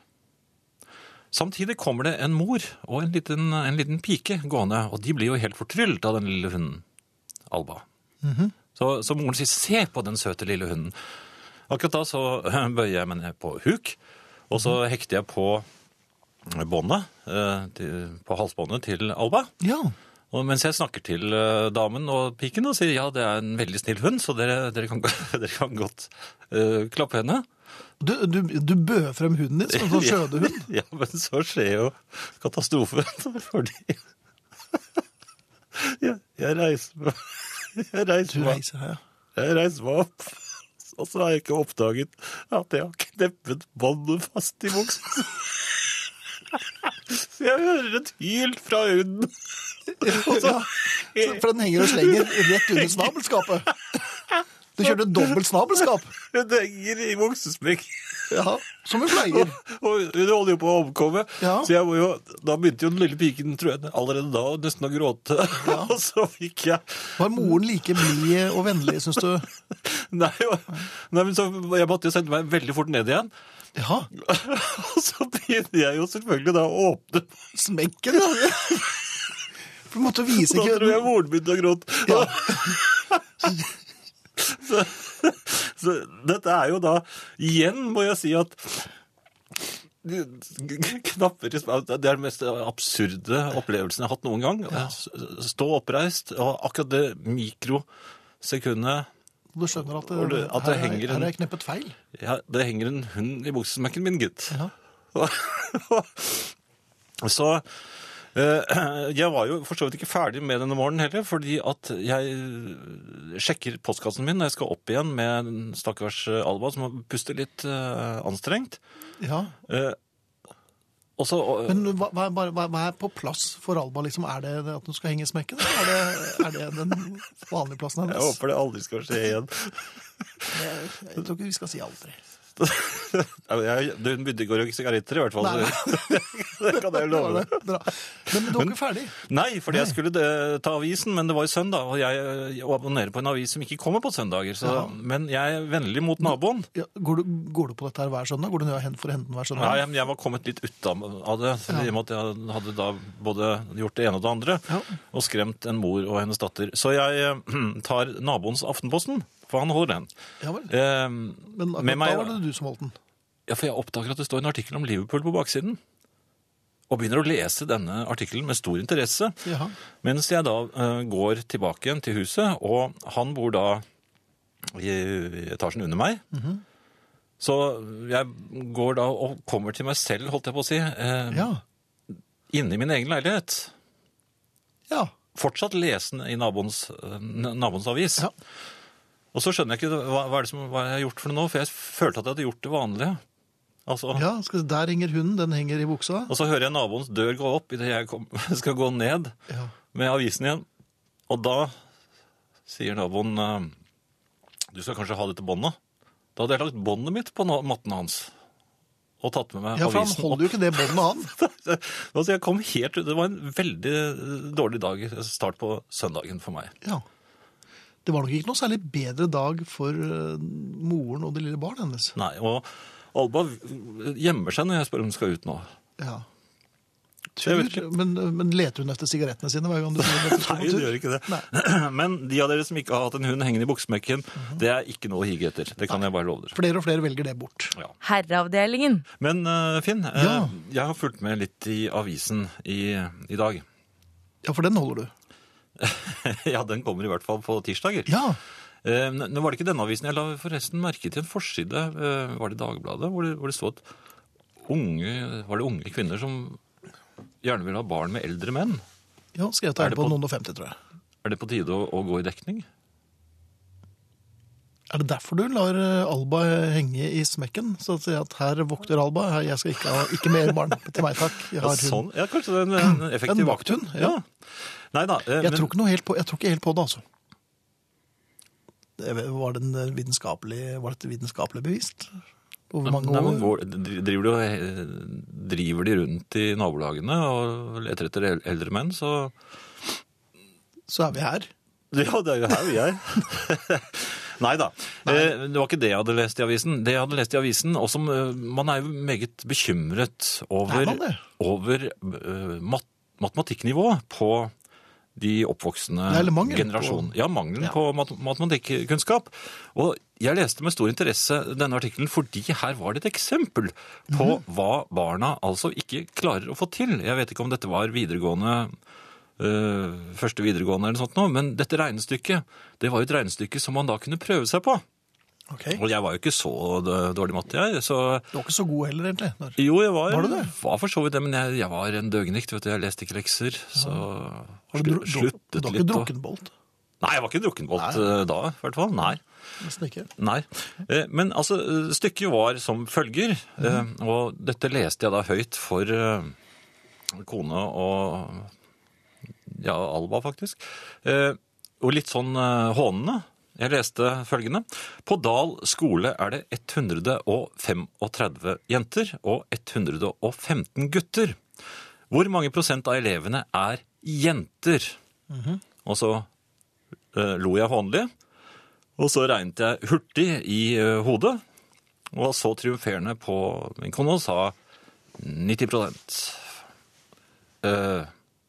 Speaker 2: Samtidig kommer det en mor og en liten, en liten pike gående, og de blir jo helt fortryllet av den lille hunden, Alba.
Speaker 1: Mhm.
Speaker 2: Så, så moren sier 'se på den søte lille hunden'. Akkurat da så eh, bøyer jeg meg ned på huk, og så hekter jeg på båndet, eh, til- på halsbåndet til Alba.
Speaker 1: Ja.
Speaker 2: Og mens jeg snakker til eh, damen og piken og sier ja, det er en veldig snill hund, så dere, dere, kan, gå- dere kan godt eh, klappe henne.
Speaker 1: Du, du, du bød frem huden din som en sånn skjødehund.
Speaker 2: Ja, men så skjer jo katastrofen, fordi jeg, jeg reiser meg jeg
Speaker 1: Du
Speaker 2: reiser, meg,
Speaker 1: reiser her, ja.
Speaker 2: jeg reiser meg opp, og så har jeg ikke oppdaget at jeg har kneppet båndet fast i buksen. Så jeg hører et hyl fra hunden. Og så,
Speaker 1: Så- For den henger og slenger rett under snabelskapet. Du kjørte dobbelt snabelskap.
Speaker 2: hun henger i buksesmekk.
Speaker 1: Ja, som vi pleier.
Speaker 2: Og hun holder jo på å omkomme.
Speaker 1: Ja.
Speaker 2: Så jeg må jo, da begynte jo den lille piken tror jeg, allerede da nesten å gråte. og så fikk jeg
Speaker 1: Var moren like blid og vennlig, syns du?
Speaker 2: Nei, og- nei men så jeg måtte jo sende meg veldig fort ned igjen.
Speaker 1: Ja,
Speaker 2: Og så begynner jeg jo selvfølgelig da å åpne.
Speaker 1: smekken, ja. For du måtte vise
Speaker 2: Da tror jeg
Speaker 1: ikke
Speaker 2: moren begynte å gråte.
Speaker 1: Ja.
Speaker 2: Så, så dette er jo da Igjen må jeg si at Knapper i smak- Det er den mest absurde opplevelsen jeg har hatt noen gang. S- Stå oppreist, og akkurat det mikrosekundet
Speaker 1: Du skjønner at
Speaker 2: Hvor
Speaker 1: det,
Speaker 2: det- at det
Speaker 1: her, er-
Speaker 2: henger en-
Speaker 1: her er jeg kneppet feil.
Speaker 2: ja, Det henger en hund i buksesmekken min, gitt.
Speaker 1: Ja.
Speaker 2: Så eh, jeg var jo for så vidt ikke ferdig med denne morgenen heller, fordi at jeg sjekker postkassen min når jeg skal opp igjen med den stakkars Alba, som puster litt eh, anstrengt.
Speaker 1: ja.
Speaker 2: Eh, og så
Speaker 1: Men hva, hva, hva, hva- hva er på plass for Alba? Liksom? Er det det at hun skal henge i smekken? eller Er det, er det den vanlige plassen
Speaker 2: Jeg
Speaker 1: hennes?
Speaker 2: håper det aldri skal skje igjen.
Speaker 1: Jeg tror ikke vi skal si aldri.
Speaker 2: Nei, men jeg, hun begynte ikke å røyke sigaretter, i hvert fall.
Speaker 1: Nei.
Speaker 2: så Det kan jeg jo
Speaker 1: Det var
Speaker 2: love.
Speaker 1: det. Bra. Men du er ikke ferdig?
Speaker 2: Nei, fordi jeg skulle eh, ta avisen, men det var jo søndag, og jeg eh, abonnerer på en avis som ikke kommer på søndager. Så, men jeg er vennlig mot naboen.
Speaker 1: Ja, går, du, går du på dette her hver søndag? Går du ned og henter for å hente den hver søndag?
Speaker 2: Nei, men jeg var kommet litt ut av av det, i og med at jeg hadde da både gjort det ene og det andre,
Speaker 1: Ja.
Speaker 2: og skremt en mor og hennes datter. Så jeg eh, tar naboens Aftenposten, for han holder den.
Speaker 1: Ja vel.
Speaker 2: Eh,
Speaker 1: Men akkurat
Speaker 2: med meg-
Speaker 1: da var det du som holdt den.
Speaker 2: Ja, for jeg oppdager at det står en artikkel om Liverpool på baksiden. Og begynner å lese denne artikkelen med stor interesse.
Speaker 1: Jaha.
Speaker 2: Mens jeg da eh, går tilbake igjen til huset, og han bor da i etasjen under meg.
Speaker 1: Mhm.
Speaker 2: Så jeg går da og kommer til meg selv, holdt jeg på å si, eh,
Speaker 1: Ja.
Speaker 2: inne i min egen leilighet.
Speaker 1: Ja.
Speaker 2: Fortsatt lesende i naboens, eh, naboens avis.
Speaker 1: Ja.
Speaker 2: Og så skjønner jeg ikke hva, hva er det som hva jeg har gjort for noe nå, for jeg følte at jeg hadde gjort det vanlige. Altså,
Speaker 1: Ja, skal, vi se, Der henger hunden, den henger i buksa.
Speaker 2: Og så hører jeg naboens dør gå opp idet jeg kom, skal gå ned
Speaker 1: Ja.
Speaker 2: med avisen igjen. Og da sier naboen eh, Du skal kanskje ha dette båndet? Da hadde jeg lagt båndet mitt på na- matten hans og tatt med meg
Speaker 1: Ja, for han
Speaker 2: avisen
Speaker 1: holder jo ikke det båndet, han.
Speaker 2: opp. altså, jeg kom helt ut. Det var en veldig eh, dårlig dag, start på søndagen for meg.
Speaker 1: Ja. Det var nok ikke noe særlig bedre dag for eh, moren og det lille barnet hennes.
Speaker 2: Nei, og Alba gjemmer seg når jeg spør om hun skal ut nå.
Speaker 1: Ja.
Speaker 2: Jeg vet
Speaker 1: Tur, men, men leter hun etter sigarettene sine hver gang du sier at du skal
Speaker 2: Nei,
Speaker 1: på
Speaker 2: hun
Speaker 1: tur?
Speaker 2: gjør ikke det. Men de av dere som ikke har hatt en hund hengende i buksmekken,
Speaker 1: Mhm.
Speaker 2: det er ikke noe å hige etter. Det kan jeg bare love dere.
Speaker 1: Flere og flere velger det bort.
Speaker 2: Ja.
Speaker 3: Herreavdelingen.
Speaker 2: Men eh, Finn, eh,
Speaker 1: Ja.
Speaker 2: jeg har fulgt med litt i avisen i, i dag.
Speaker 1: Ja, for den holder du.
Speaker 2: ja, den kommer i hvert fall på tirsdager.
Speaker 1: Ja.
Speaker 2: Eh, n- nå var det ikke denne avisen. Jeg la forresten merke til en forside, eh, var det Dagbladet, hvor det, hvor det stod at unge, var det unge kvinner som gjerne vil ha barn med eldre menn.
Speaker 1: ja skrevet
Speaker 2: Er
Speaker 1: av
Speaker 2: det
Speaker 1: på
Speaker 2: på-
Speaker 1: noen og femti, tror jeg.
Speaker 2: Er det på tide å, å gå i dekning?
Speaker 1: Er det derfor du lar eh, Alba henge i smekken? Så at, si at her vokter Alba, her- jeg skal ikke ha ikke mer barn til meg, takk. Jeg
Speaker 2: Ja,
Speaker 1: har hund.
Speaker 2: sånn, ja kanskje det er en, en effektiv
Speaker 1: En vakthund, ja.
Speaker 2: Nei da. eh,
Speaker 1: Jeg
Speaker 2: men-
Speaker 1: tror ikke, noe helt på, jeg tror ikke helt på det, altså. Det var- Var, den vitenskapelig, var dette vitenskapelig bevist? Over mange
Speaker 2: Nei, men
Speaker 1: år?
Speaker 2: går, dri- driver, du, eh, driver de rundt i nabolagene og leter etter el- eldre menn, så
Speaker 1: Så er vi her.
Speaker 2: Ja, det er jo her vi er. Nei da. Eh, Det var ikke det jeg hadde lest i avisen. Det jeg hadde lest i avisen, og som eh, Man er jo meget bekymret
Speaker 1: Er
Speaker 2: over,
Speaker 1: man det?
Speaker 2: over eh, mat, matematikknivået på de oppvoksende
Speaker 1: Ja, eller mangelen på-
Speaker 2: generasjonene. Ja, mangelen på mat, matematikkunnskap. Og jeg leste med stor interesse denne artikkelen fordi her var det et eksempel på
Speaker 1: Mhm.
Speaker 2: hva barna altså ikke klarer å få til. Jeg vet ikke om dette var videregående eh, første videregående eller noe sånt nå, men dette regnestykket, det var jo et regnestykke som man da kunne prøve seg på.
Speaker 1: Ok. Du
Speaker 2: Og jeg var jo ikke så d- dårlig i matte, jeg, så
Speaker 1: var ikke så god heller, egentlig. Når...
Speaker 2: jo, jeg var,
Speaker 1: Var du det?
Speaker 2: var for så vidt det, men jeg, jeg var en døgnikt, vet du, jeg leste ikke lekser, så
Speaker 1: Har
Speaker 2: slu-
Speaker 1: Altså, du, dru- du, du
Speaker 2: sluttet
Speaker 1: har
Speaker 2: litt.
Speaker 1: ikke
Speaker 2: og-
Speaker 1: drukkenbolt?
Speaker 2: Nei, jeg var ikke drukkenbolt eh, da, i hvert fall, nei.
Speaker 1: Nesten ikke.
Speaker 2: Nei. Eh, Men altså, eh, stykket var som følger, eh, og dette leste jeg da høyt for eh, kone og ja, Alba faktisk. Eh, Og litt sånn eh, hånende. Jeg leste følgende. På Dal skole er det 135 jenter og 115 gutter. Hvor mange prosent av elevene er jenter? Og så eh, lo jeg hånlig. Og så regnet jeg hurtig i eh, hodet, og så triumferende på min kone og sa 90 Eh,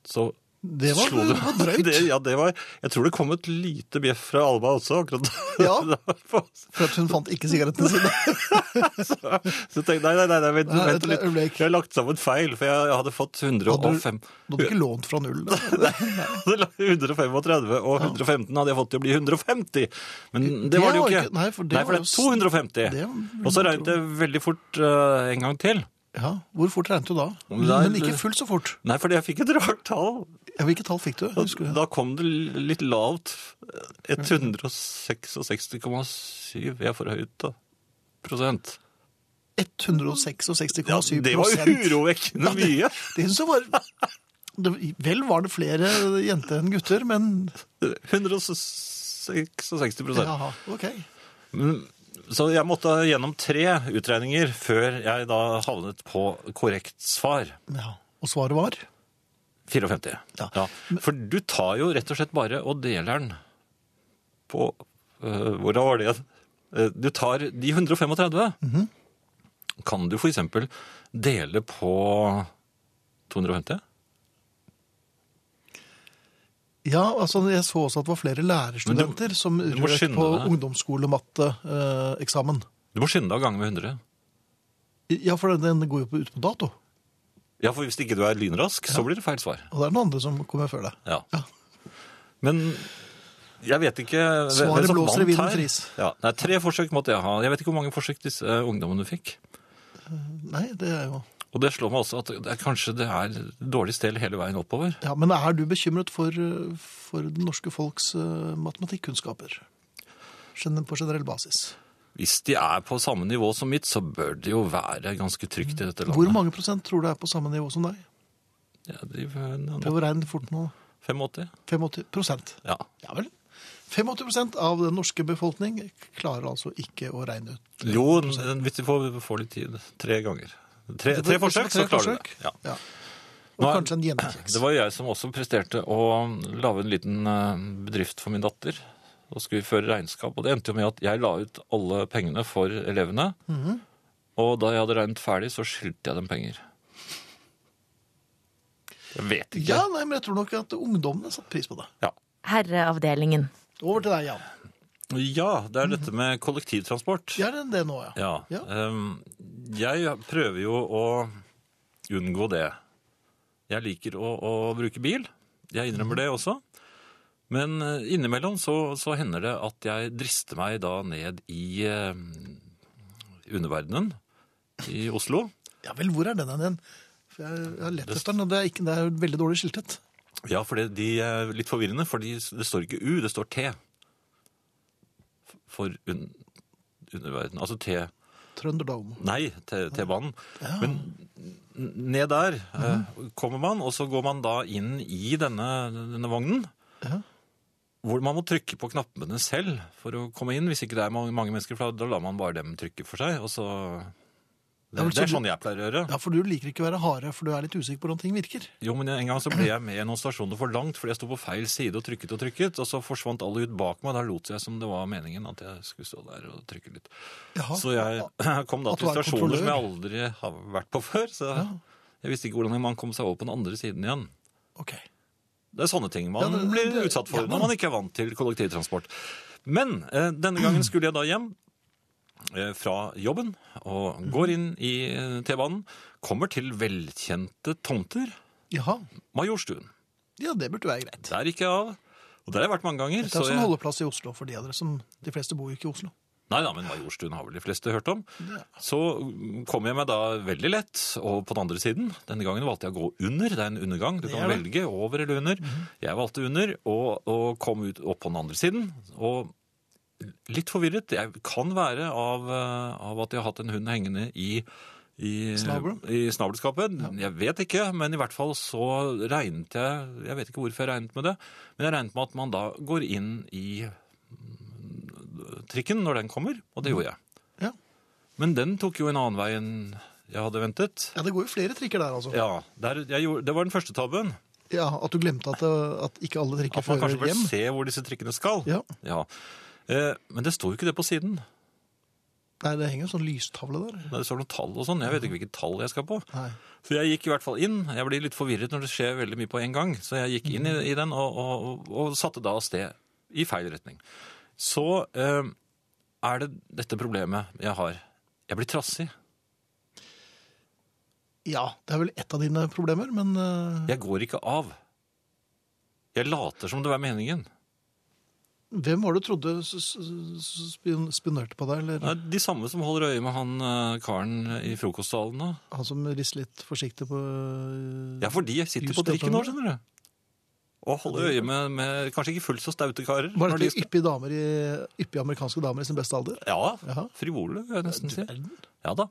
Speaker 2: Så
Speaker 1: Det var,
Speaker 2: slo
Speaker 1: det var drøyt.
Speaker 2: Det, ja, det var, jeg tror det kom et lite bjeff fra Alba også, akkurat
Speaker 1: Ja.
Speaker 2: da.
Speaker 1: For at hun fant ikke sigarettene sine.
Speaker 2: Så tenkte jeg, nei, nei, nei, nei vent,
Speaker 1: Nei,
Speaker 2: vent
Speaker 1: et
Speaker 2: litt.
Speaker 1: øyeblikk.
Speaker 2: Jeg har lagt sammen feil, for jeg hadde fått
Speaker 1: Hadde du,
Speaker 2: 105.
Speaker 1: du hadde ikke lånt fra null. da.
Speaker 2: Jeg hadde lagt 135 og 115 hadde jeg fått til å bli 150. Men det var det jo
Speaker 1: var
Speaker 2: ikke.
Speaker 1: ikke- nei, for det var
Speaker 2: ble
Speaker 1: jo s-
Speaker 2: 250.
Speaker 1: det vil
Speaker 2: og så
Speaker 1: man
Speaker 2: regnet jeg veldig fort eh, en gang til.
Speaker 1: Ja, Hvor fort regnet du da?
Speaker 2: Nei,
Speaker 1: Men ikke
Speaker 2: det-
Speaker 1: fullt så fort.
Speaker 2: Nei, fordi jeg fikk et rart tall.
Speaker 1: Ja, Hvilke tall fikk du? Husker du?
Speaker 2: Da kom det litt lavt. Eh, 166,7 er for høyt, da. Prosent.
Speaker 1: 166,7
Speaker 2: Ja, det var urovekkende mye.
Speaker 1: Det synes jeg var... Det, vel var det flere jenter enn gutter, men...
Speaker 2: 166 prosent.
Speaker 1: Jaha, ok.
Speaker 2: Så jeg måtte gjennom tre utregninger før jeg da havnet på korrekt svar.
Speaker 1: Ja. Og svaret var?
Speaker 2: 54.
Speaker 1: Ja.
Speaker 2: For du tar jo rett og slett bare og deler den på øh, Hvordan var det? Eh, Du tar de 135. Kan du for eksempel dele på 250?
Speaker 1: Ja, altså jeg så også at det var flere lærerstudenter som
Speaker 2: du må
Speaker 1: røk
Speaker 2: skynde
Speaker 1: på
Speaker 2: deg.
Speaker 1: ungdomsskolematteeksamen. Eh,
Speaker 2: Du må skynde deg å gange med 100.
Speaker 1: Ja, for den den går jo på- ut på dato.
Speaker 2: Ja, for hvis ikke du er lynrask, så blir det feil svar.
Speaker 1: Og det er noen andre som kommer før deg.
Speaker 2: Ja.
Speaker 1: Ja.
Speaker 2: Men jeg vet ikke hvem-
Speaker 1: Svaret
Speaker 2: hvem som
Speaker 1: blåser i
Speaker 2: vant
Speaker 1: vinden
Speaker 2: her.
Speaker 1: fris.
Speaker 2: Ja, nei, tre forsøk måtte jeg ha. Jeg vet ikke hvor mange forsøk disse eh, ungdommene fikk.
Speaker 1: Nei, det er jo...
Speaker 2: Og det slår meg også at det er, kanskje det er dårlig stell hele veien oppover.
Speaker 1: Ja, men er du bekymret for, for det norske folks eh, matematikkunnskaper? gen- på generell basis.
Speaker 2: Hvis de er på samme nivå som mitt, så bør det jo være ganske trygt i dette landet.
Speaker 1: Hvor mange prosent tror du er på samme nivå som deg?
Speaker 2: Ja, de, eh, nei,
Speaker 1: Prøv å regne fort nå.
Speaker 2: 85?
Speaker 1: 85 prosent.
Speaker 2: Ja.
Speaker 1: Ja vel. 85 prosent av den norske befolkning klarer altså ikke å regne ut.
Speaker 2: Jo, n- hvis de får, får litt tid. Tre ganger. Tre, Eh, tre forsøk, så klarer du det. Ja.
Speaker 1: Ja. Og
Speaker 2: Nå er-
Speaker 1: kanskje en gjennomsnitts.
Speaker 2: Det var jo jeg som også presterte å um, lage en liten eh, bedrift for min datter. Da skulle vi føre regnskap, og det endte jo med at jeg la ut alle pengene for elevene.
Speaker 1: Mhm.
Speaker 2: Og da jeg hadde regnet ferdig, så skyldte jeg dem penger. Jeg vet ikke.
Speaker 1: Ja, nei, men jeg tror nok at ungdommene satte pris på det.
Speaker 2: Ja.
Speaker 3: Herreavdelingen.
Speaker 1: Over til deg, Jan.
Speaker 2: Ja, det er dette med kollektivtransport.
Speaker 1: Gjør den det nå, ja?
Speaker 2: Ja. ehm, jeg prøver jo å unngå det. Jeg liker å, å bruke bil. Jeg innrømmer det også. Men eh, innimellom så, så hender det at jeg drister meg da ned i eh, underverdenen i Oslo.
Speaker 1: Ja vel, hvor er den hen igjen? For jeg, jeg har lett etter den, og det er, ikke, det er veldig dårlig skiltet.
Speaker 2: Ja, for det, de er litt forvirrende, for det står ikke U, det står T. For un, underverdenen. Altså T.
Speaker 1: Trønderdalen.
Speaker 2: Nei, T- T-banen. Men n- ned der eh, kommer man, og så går man da inn i denne, denne vognen.
Speaker 1: Ja.
Speaker 2: Hvor man må trykke på knappene selv for å komme inn, hvis ikke det er mange, mange mennesker. For da- da lar man bare dem trykke for seg, og så Det,
Speaker 1: Ja, men så
Speaker 2: det er
Speaker 1: du-
Speaker 2: sånn jeg pleier å gjøre.
Speaker 1: Ja, for du liker ikke å være harde, for du er litt usikker på hvordan ting virker.
Speaker 2: Jo, men En gang så ble jeg med noen stasjoner for langt fordi jeg sto på feil side og trykket og trykket, og så forsvant alle ut bak meg. Da lot jeg som det var meningen at jeg skulle stå der og trykke litt.
Speaker 1: Jaha.
Speaker 2: Så jeg kom da
Speaker 1: At
Speaker 2: til
Speaker 1: du er
Speaker 2: stasjoner som jeg
Speaker 1: kontrollør.
Speaker 2: aldri har vært på før. Så jeg visste ikke hvordan man kom seg over på den andre siden igjen.
Speaker 1: Ok.
Speaker 2: Det er sånne ting man
Speaker 1: Ja, det-
Speaker 2: blir
Speaker 1: det-
Speaker 2: utsatt
Speaker 1: ja,
Speaker 2: for
Speaker 1: men-
Speaker 2: når man ikke er vant til kollektivtransport. Men eh, denne gangen skulle jeg da hjem eh, fra jobben og går inn i eh, T-banen. Kommer til velkjente tomter.
Speaker 1: Jaha.
Speaker 2: Majorstuen.
Speaker 1: Ja, det burde være greit.
Speaker 2: Der gikk jeg av. Og der har jeg vært mange ganger.
Speaker 1: Det er
Speaker 2: så
Speaker 1: sånn
Speaker 2: jeg-
Speaker 1: holdeplass i Oslo for de av dere som De fleste bor jo ikke i Oslo.
Speaker 2: Nei da, men Majorstuen har vel de fleste hørt om.
Speaker 1: Ja.
Speaker 2: Så kom jeg meg da veldig lett og på den andre siden. Denne gangen valgte jeg å gå under. Det er en undergang. Du
Speaker 1: Det Mhm.
Speaker 2: kan
Speaker 1: er det.
Speaker 2: velge over eller under. Jeg valgte under og, og kom ut opp på den andre siden. Og litt forvirret. Jeg kan være av, eh, av at jeg har hatt en hund hengende i i,
Speaker 1: Snabelen?
Speaker 2: i snabelskapet. Jeg vet ikke, men i hvert fall så regnet jeg Jeg vet ikke hvorfor jeg regnet med det, men jeg regnet med at man da går inn i mm, trikken når den kommer, og det gjorde jeg.
Speaker 1: Mm. Ja.
Speaker 2: Men den tok jo en annen vei enn jeg hadde ventet.
Speaker 1: ja, det går jo flere trikker der, altså. Ja,
Speaker 2: Ja, der, jeg gjorde, Det var den første tabben.
Speaker 1: At du glemte at, det- at ikke alle trikker
Speaker 2: At man
Speaker 1: fører
Speaker 2: kanskje bør
Speaker 1: hjem.
Speaker 2: se hvor disse trikkene skal.
Speaker 1: Ja.
Speaker 2: Eh, men det står jo ikke det på siden.
Speaker 1: Nei, det henger en sånn lystavle der.
Speaker 2: Det står noen tall og sånn. Jeg vet ikke hvilket tall jeg skal på.
Speaker 1: Nei.
Speaker 2: Så jeg gikk i hvert fall inn. Jeg blir litt forvirret når det skjer veldig mye på en gang. Så jeg gikk inn i, i den og, og, og, og satte da av sted i feil retning. Så eh, er det dette problemet jeg har. Jeg blir trassig.
Speaker 1: Ja, det er vel ett av dine problemer, men eh,
Speaker 2: Jeg går ikke av. Jeg later som det var meningen.
Speaker 1: hvem var det du trodde s- s- s- spin- spionerte på deg, eller
Speaker 2: Nei, de samme som holder øye med han eh, karen i frokostsalen da.
Speaker 1: han som rister litt forsiktig på eh,
Speaker 2: Ja, for de sitter
Speaker 1: Just
Speaker 2: på trikken nå,
Speaker 1: dette.
Speaker 2: skjønner du. Og holder øye med, med kanskje ikke fullt så staute karer.
Speaker 1: Var
Speaker 2: når
Speaker 1: dette
Speaker 2: de-
Speaker 1: yppige, damer i, yppige amerikanske damer i sin beste alder?
Speaker 2: Ja,
Speaker 1: Jaha.
Speaker 2: frivole, vil jeg nesten si.
Speaker 1: verden.
Speaker 2: Ja da.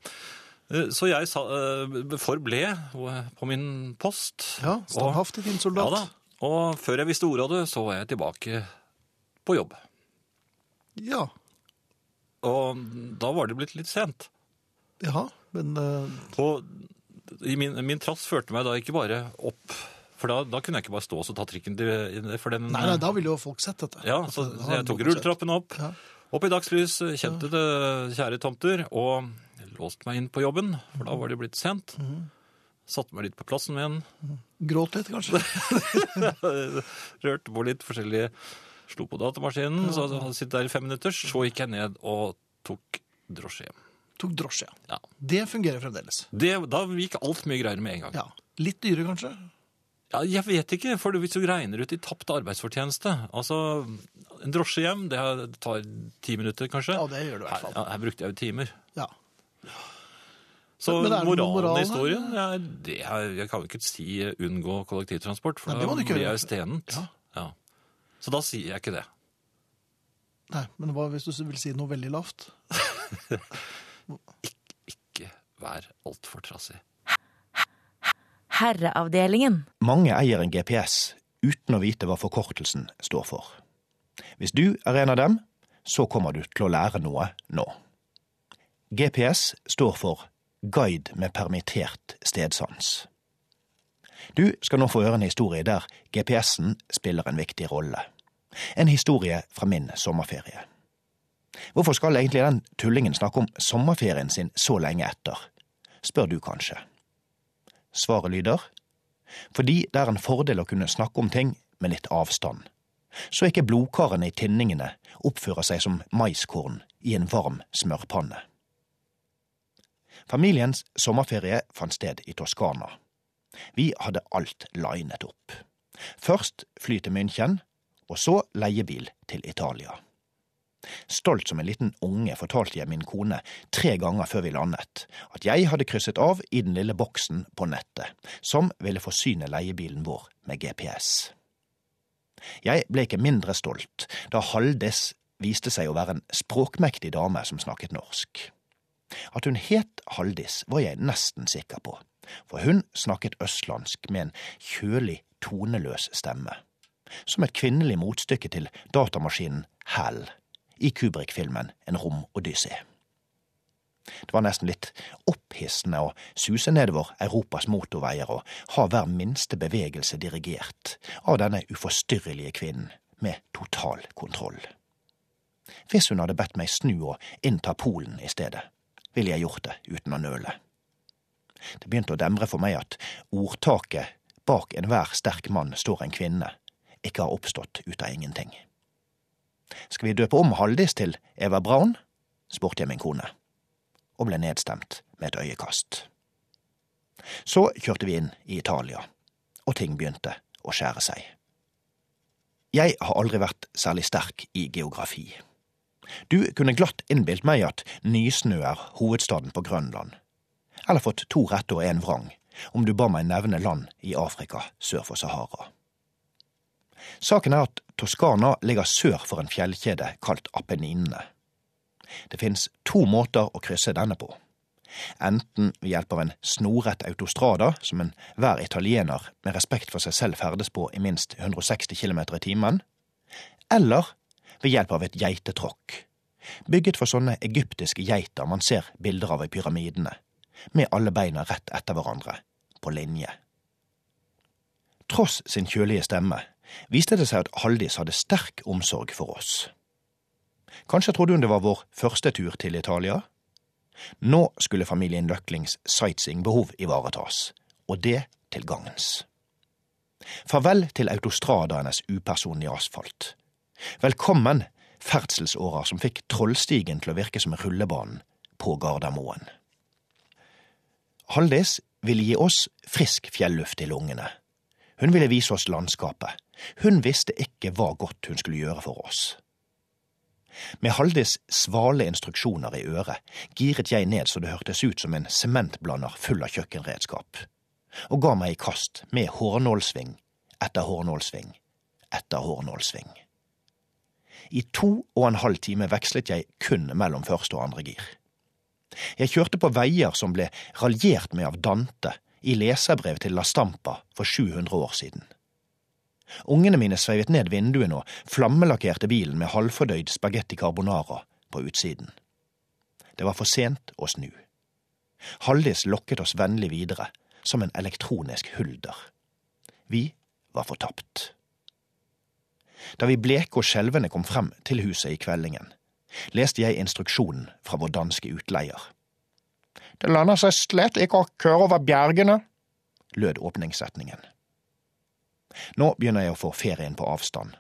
Speaker 2: Eh, Så jeg sa, eh, forble eh, på min post.
Speaker 1: Ja,
Speaker 2: og,
Speaker 1: standhaftig fin soldat.
Speaker 2: ja da. Og før jeg visste ordet av det, så var jeg tilbake på jobb.
Speaker 1: Ja,
Speaker 2: Og da var det blitt litt sent.
Speaker 1: jaha, men eh,
Speaker 2: Og i min, min trass førte meg da ikke bare opp, for da, da kunne jeg ikke bare stå og så ta trikken til for den.
Speaker 1: Nei, nei, da ville jo folk sett dette.
Speaker 2: Ja, så,
Speaker 1: Da
Speaker 2: så
Speaker 1: hadde
Speaker 2: jeg
Speaker 1: folk
Speaker 2: tok
Speaker 1: sett.
Speaker 2: rulletrappen opp,
Speaker 1: Ja.
Speaker 2: opp i dagslys, kjente det kjære tomter, og låste meg inn på jobben, for da var det blitt sent.
Speaker 1: Mhm.
Speaker 2: Satte meg litt på plassen min,
Speaker 1: Gråt litt, kanskje.
Speaker 2: rørte på litt forskjellige, slo på datamaskinen, så hadde jeg sittet der i fem minutter, så gikk jeg ned og tok drosje hjem.
Speaker 1: Tok drosje, ja.
Speaker 2: Ja.
Speaker 1: Det fungerer fremdeles.
Speaker 2: Det, da gikk alt mye greier med en gang.
Speaker 1: Ja, Litt dyre, kanskje?
Speaker 2: Ja, jeg vet ikke, for hvis du regner ut i tapt arbeidsfortjeneste Altså, en drosje hjem, det her tar ti minutter, kanskje.
Speaker 1: Ja, det gjør det i hvert fall.
Speaker 2: Her, her brukte jeg jo timer.
Speaker 1: Ja.
Speaker 2: Så
Speaker 1: Men er det noen
Speaker 2: moralen
Speaker 1: moral her?
Speaker 2: i historien ja, det er, Jeg kan jo ikke si eh, unngå kollektivtransport, for
Speaker 1: Nei, det må
Speaker 2: da
Speaker 1: du ikke
Speaker 2: blir
Speaker 1: gjøre.
Speaker 2: jeg jo stenet. Ja. Så da sier jeg ikke det.
Speaker 1: Nei, men hva hvis du vil si noe veldig lavt?
Speaker 2: Ikke vær altfor trassig.
Speaker 3: Herreavdelingen.
Speaker 4: Mange eier en GPS uten å vite hva forkortelsen står for. Hvis du er en av dem, så kommer du til å lære noe nå. GPS står for Guide med permittert stedsans. Du skal nå få høre en historie der GPS-en spiller en viktig rolle. En historie fra min sommerferie. Hvorfor skal egentlig den tullingen snakke om sommerferien sin så lenge etter, spør du kanskje. Svaret lyder fordi det er en fordel å kunne snakke om ting med litt avstand. Så ikke blodkarene i tinningene oppfører seg som maiskorn i en varm smørpanne. Familiens sommerferie fant sted i Toskana. Vi hadde alt linet opp. Først fly til München, og så leiebil til Italia. Stolt som en liten unge fortalte jeg min kone tre ganger før vi landet at jeg hadde krysset av i den lille boksen på nettet, som ville forsyne leiebilen vår med GPS. Jeg ble ikke mindre stolt da Haldis viste seg å være en språkmektig dame som snakket norsk. At hun het Haldis, var jeg nesten sikker på, for hun snakket østlandsk med en kjølig, toneløs stemme, som et kvinnelig motstykke til datamaskinen Hal i Kubrick-filmen En romodyssé. Det var nesten litt opphissende å suse nedover Europas motorveier og ha hver minste bevegelse dirigert av denne uforstyrrelige kvinnen med total kontroll. Hvis hun hadde bedt meg snu og innta Polen i stedet, ville jeg gjort det uten å nøle. Det begynte å demre for meg at ordtaket bak enhver sterk mann står en kvinne ikke har oppstått ut av ingenting. Skal vi døpe om Haldis til Eva Braun? spurte jeg min kone, og ble nedstemt med et øyekast. Så kjørte vi inn i Italia, og ting begynte å skjære seg. Jeg har aldri vært særlig sterk i geografi. Du kunne glatt innbilt meg at Nysnø er hovedstaden på Grønland, eller fått to rette og én vrang om du ba meg nevne land i Afrika sør for Sahara. Saken er at Toskana ligger sør for en fjellkjede kalt Apenninene. Det finnes to måter å krysse denne på. Enten ved hjelp av en snorrett autostrada, som enhver italiener med respekt for seg selv ferdes på i minst 160 km i timen, eller ved hjelp av et geitetråkk, bygget for sånne egyptiske geiter man ser bilder av i pyramidene, med alle beina rett etter hverandre, på linje. Tross sin kjølige stemme viste det seg at Haldis hadde sterk omsorg for oss. Kanskje trodde hun det var vår første tur til Italia? Nå skulle familien Løklings sightseeingbehov ivaretas, og det til gagns. Farvel til autostradaenes upersonlige asfalt. Velkommen ferdselsårer som fikk Trollstigen til å virke som rullebanen på Gardermoen. Haldis ville gi oss frisk fjelluft i lungene. Hun ville vise oss landskapet. Hun visste ikke hva godt hun skulle gjøre for oss. Med Haldis svale instruksjoner i øret giret jeg ned så det hørtes ut som en sementblander full av kjøkkenredskap, og ga meg i kast med hårnålsving etter hårnålsving etter hårnålsving. I to og en halv time vekslet jeg kun mellom første og andre gir. Jeg kjørte på veier som ble raljert med av Dante i leserbrev til La Stampa for 700 år siden. Ungene mine sveivet ned vinduene og flammelakkerte bilen med halvfordøyd spagetti carbonara på utsiden. Det var for sent å snu. Haldis lokket oss vennlig videre, som en elektronisk hulder. Vi var fortapt. Da vi bleke og skjelvende kom frem til huset i kveldingen, leste jeg instruksjonen fra vår danske utleier. Det lønner seg slett ikke å køre over bjergene, lød åpningssetningen. Nå begynner jeg å få ferien på avstand,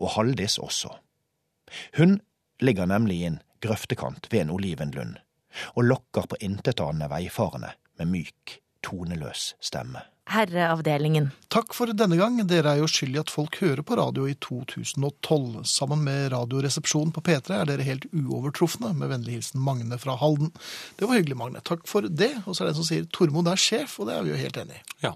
Speaker 4: og Haldis også. Hun ligger nemlig i en grøftekant ved en olivenlund, og lokker på intetanende veifarende med myk, toneløs stemme.
Speaker 3: Herreavdelingen.
Speaker 1: Takk for denne gang. Dere er jo skyld i at folk hører på radio i 2012. Sammen med Radioresepsjonen på P3 er dere helt uovertrufne. Med vennlig hilsen Magne fra Halden. Det var hyggelig, Magne. Takk for det. Og så er det en som sier Tormod er sjef, og det er vi jo helt enig i.
Speaker 2: Ja.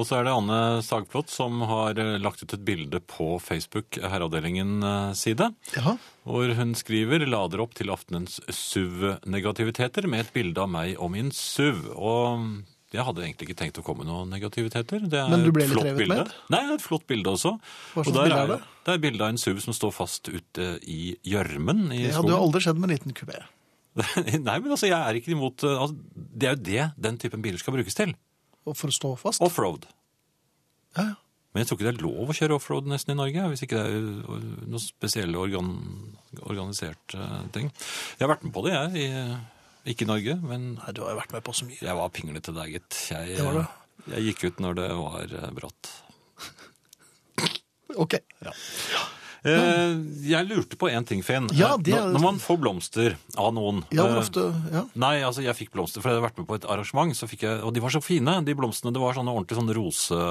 Speaker 2: Og så er det Anne Sagflot som har eh, lagt ut et bilde på Facebook, eh, Herreavdelingen-side,
Speaker 1: Ja.
Speaker 2: hvor hun skriver 'lader opp til aftenens SUV-negativiteter' med et bilde av meg og min SUV. Og jeg hadde egentlig ikke tenkt å komme med noen negativiteter. Det er
Speaker 1: Men du ble
Speaker 2: et
Speaker 1: litt
Speaker 2: flott
Speaker 1: revet
Speaker 2: bilde.
Speaker 1: med?
Speaker 2: Nei, det er et flott bilde også.
Speaker 1: Hva slags
Speaker 2: Og der
Speaker 1: bilde er det?
Speaker 2: Det er et bilde av en SUV som står fast ute i gjørmen i
Speaker 1: Det hadde jo
Speaker 2: skogen.
Speaker 1: aldri skjedd med en liten kubé.
Speaker 2: Nei, men altså, jeg er ikke imot eh, altså, Det er jo det den typen biler skal brukes til.
Speaker 1: Og for å stå fast.
Speaker 2: Offroad.
Speaker 1: Ja, ja.
Speaker 2: Men jeg tror ikke det er lov å kjøre offroad nesten i Norge, hvis ikke det er ø, noe spesielle organ, organisert eh, ting. Jeg har vært med på det, jeg. I, ikke i Norge, men
Speaker 1: Nei, du har jo vært med på så mye.
Speaker 2: jeg var pinglete der, gitt. Jeg, øh,
Speaker 1: Det var det.
Speaker 2: jeg gikk ut når det var eh, brått.
Speaker 1: Ok.
Speaker 2: Eh, jeg lurte på én ting, Finn.
Speaker 1: Ja,
Speaker 2: Eh,
Speaker 1: det er-
Speaker 2: når, når man får blomster av noen
Speaker 1: Ja, hvor
Speaker 2: eh,
Speaker 1: ofte ja.
Speaker 2: Nei, altså jeg fikk blomster, for jeg hadde vært med på et arrangement, så fikk jeg, og de var så fine, de blomstene. Det var sånne ordentlig sånne rose...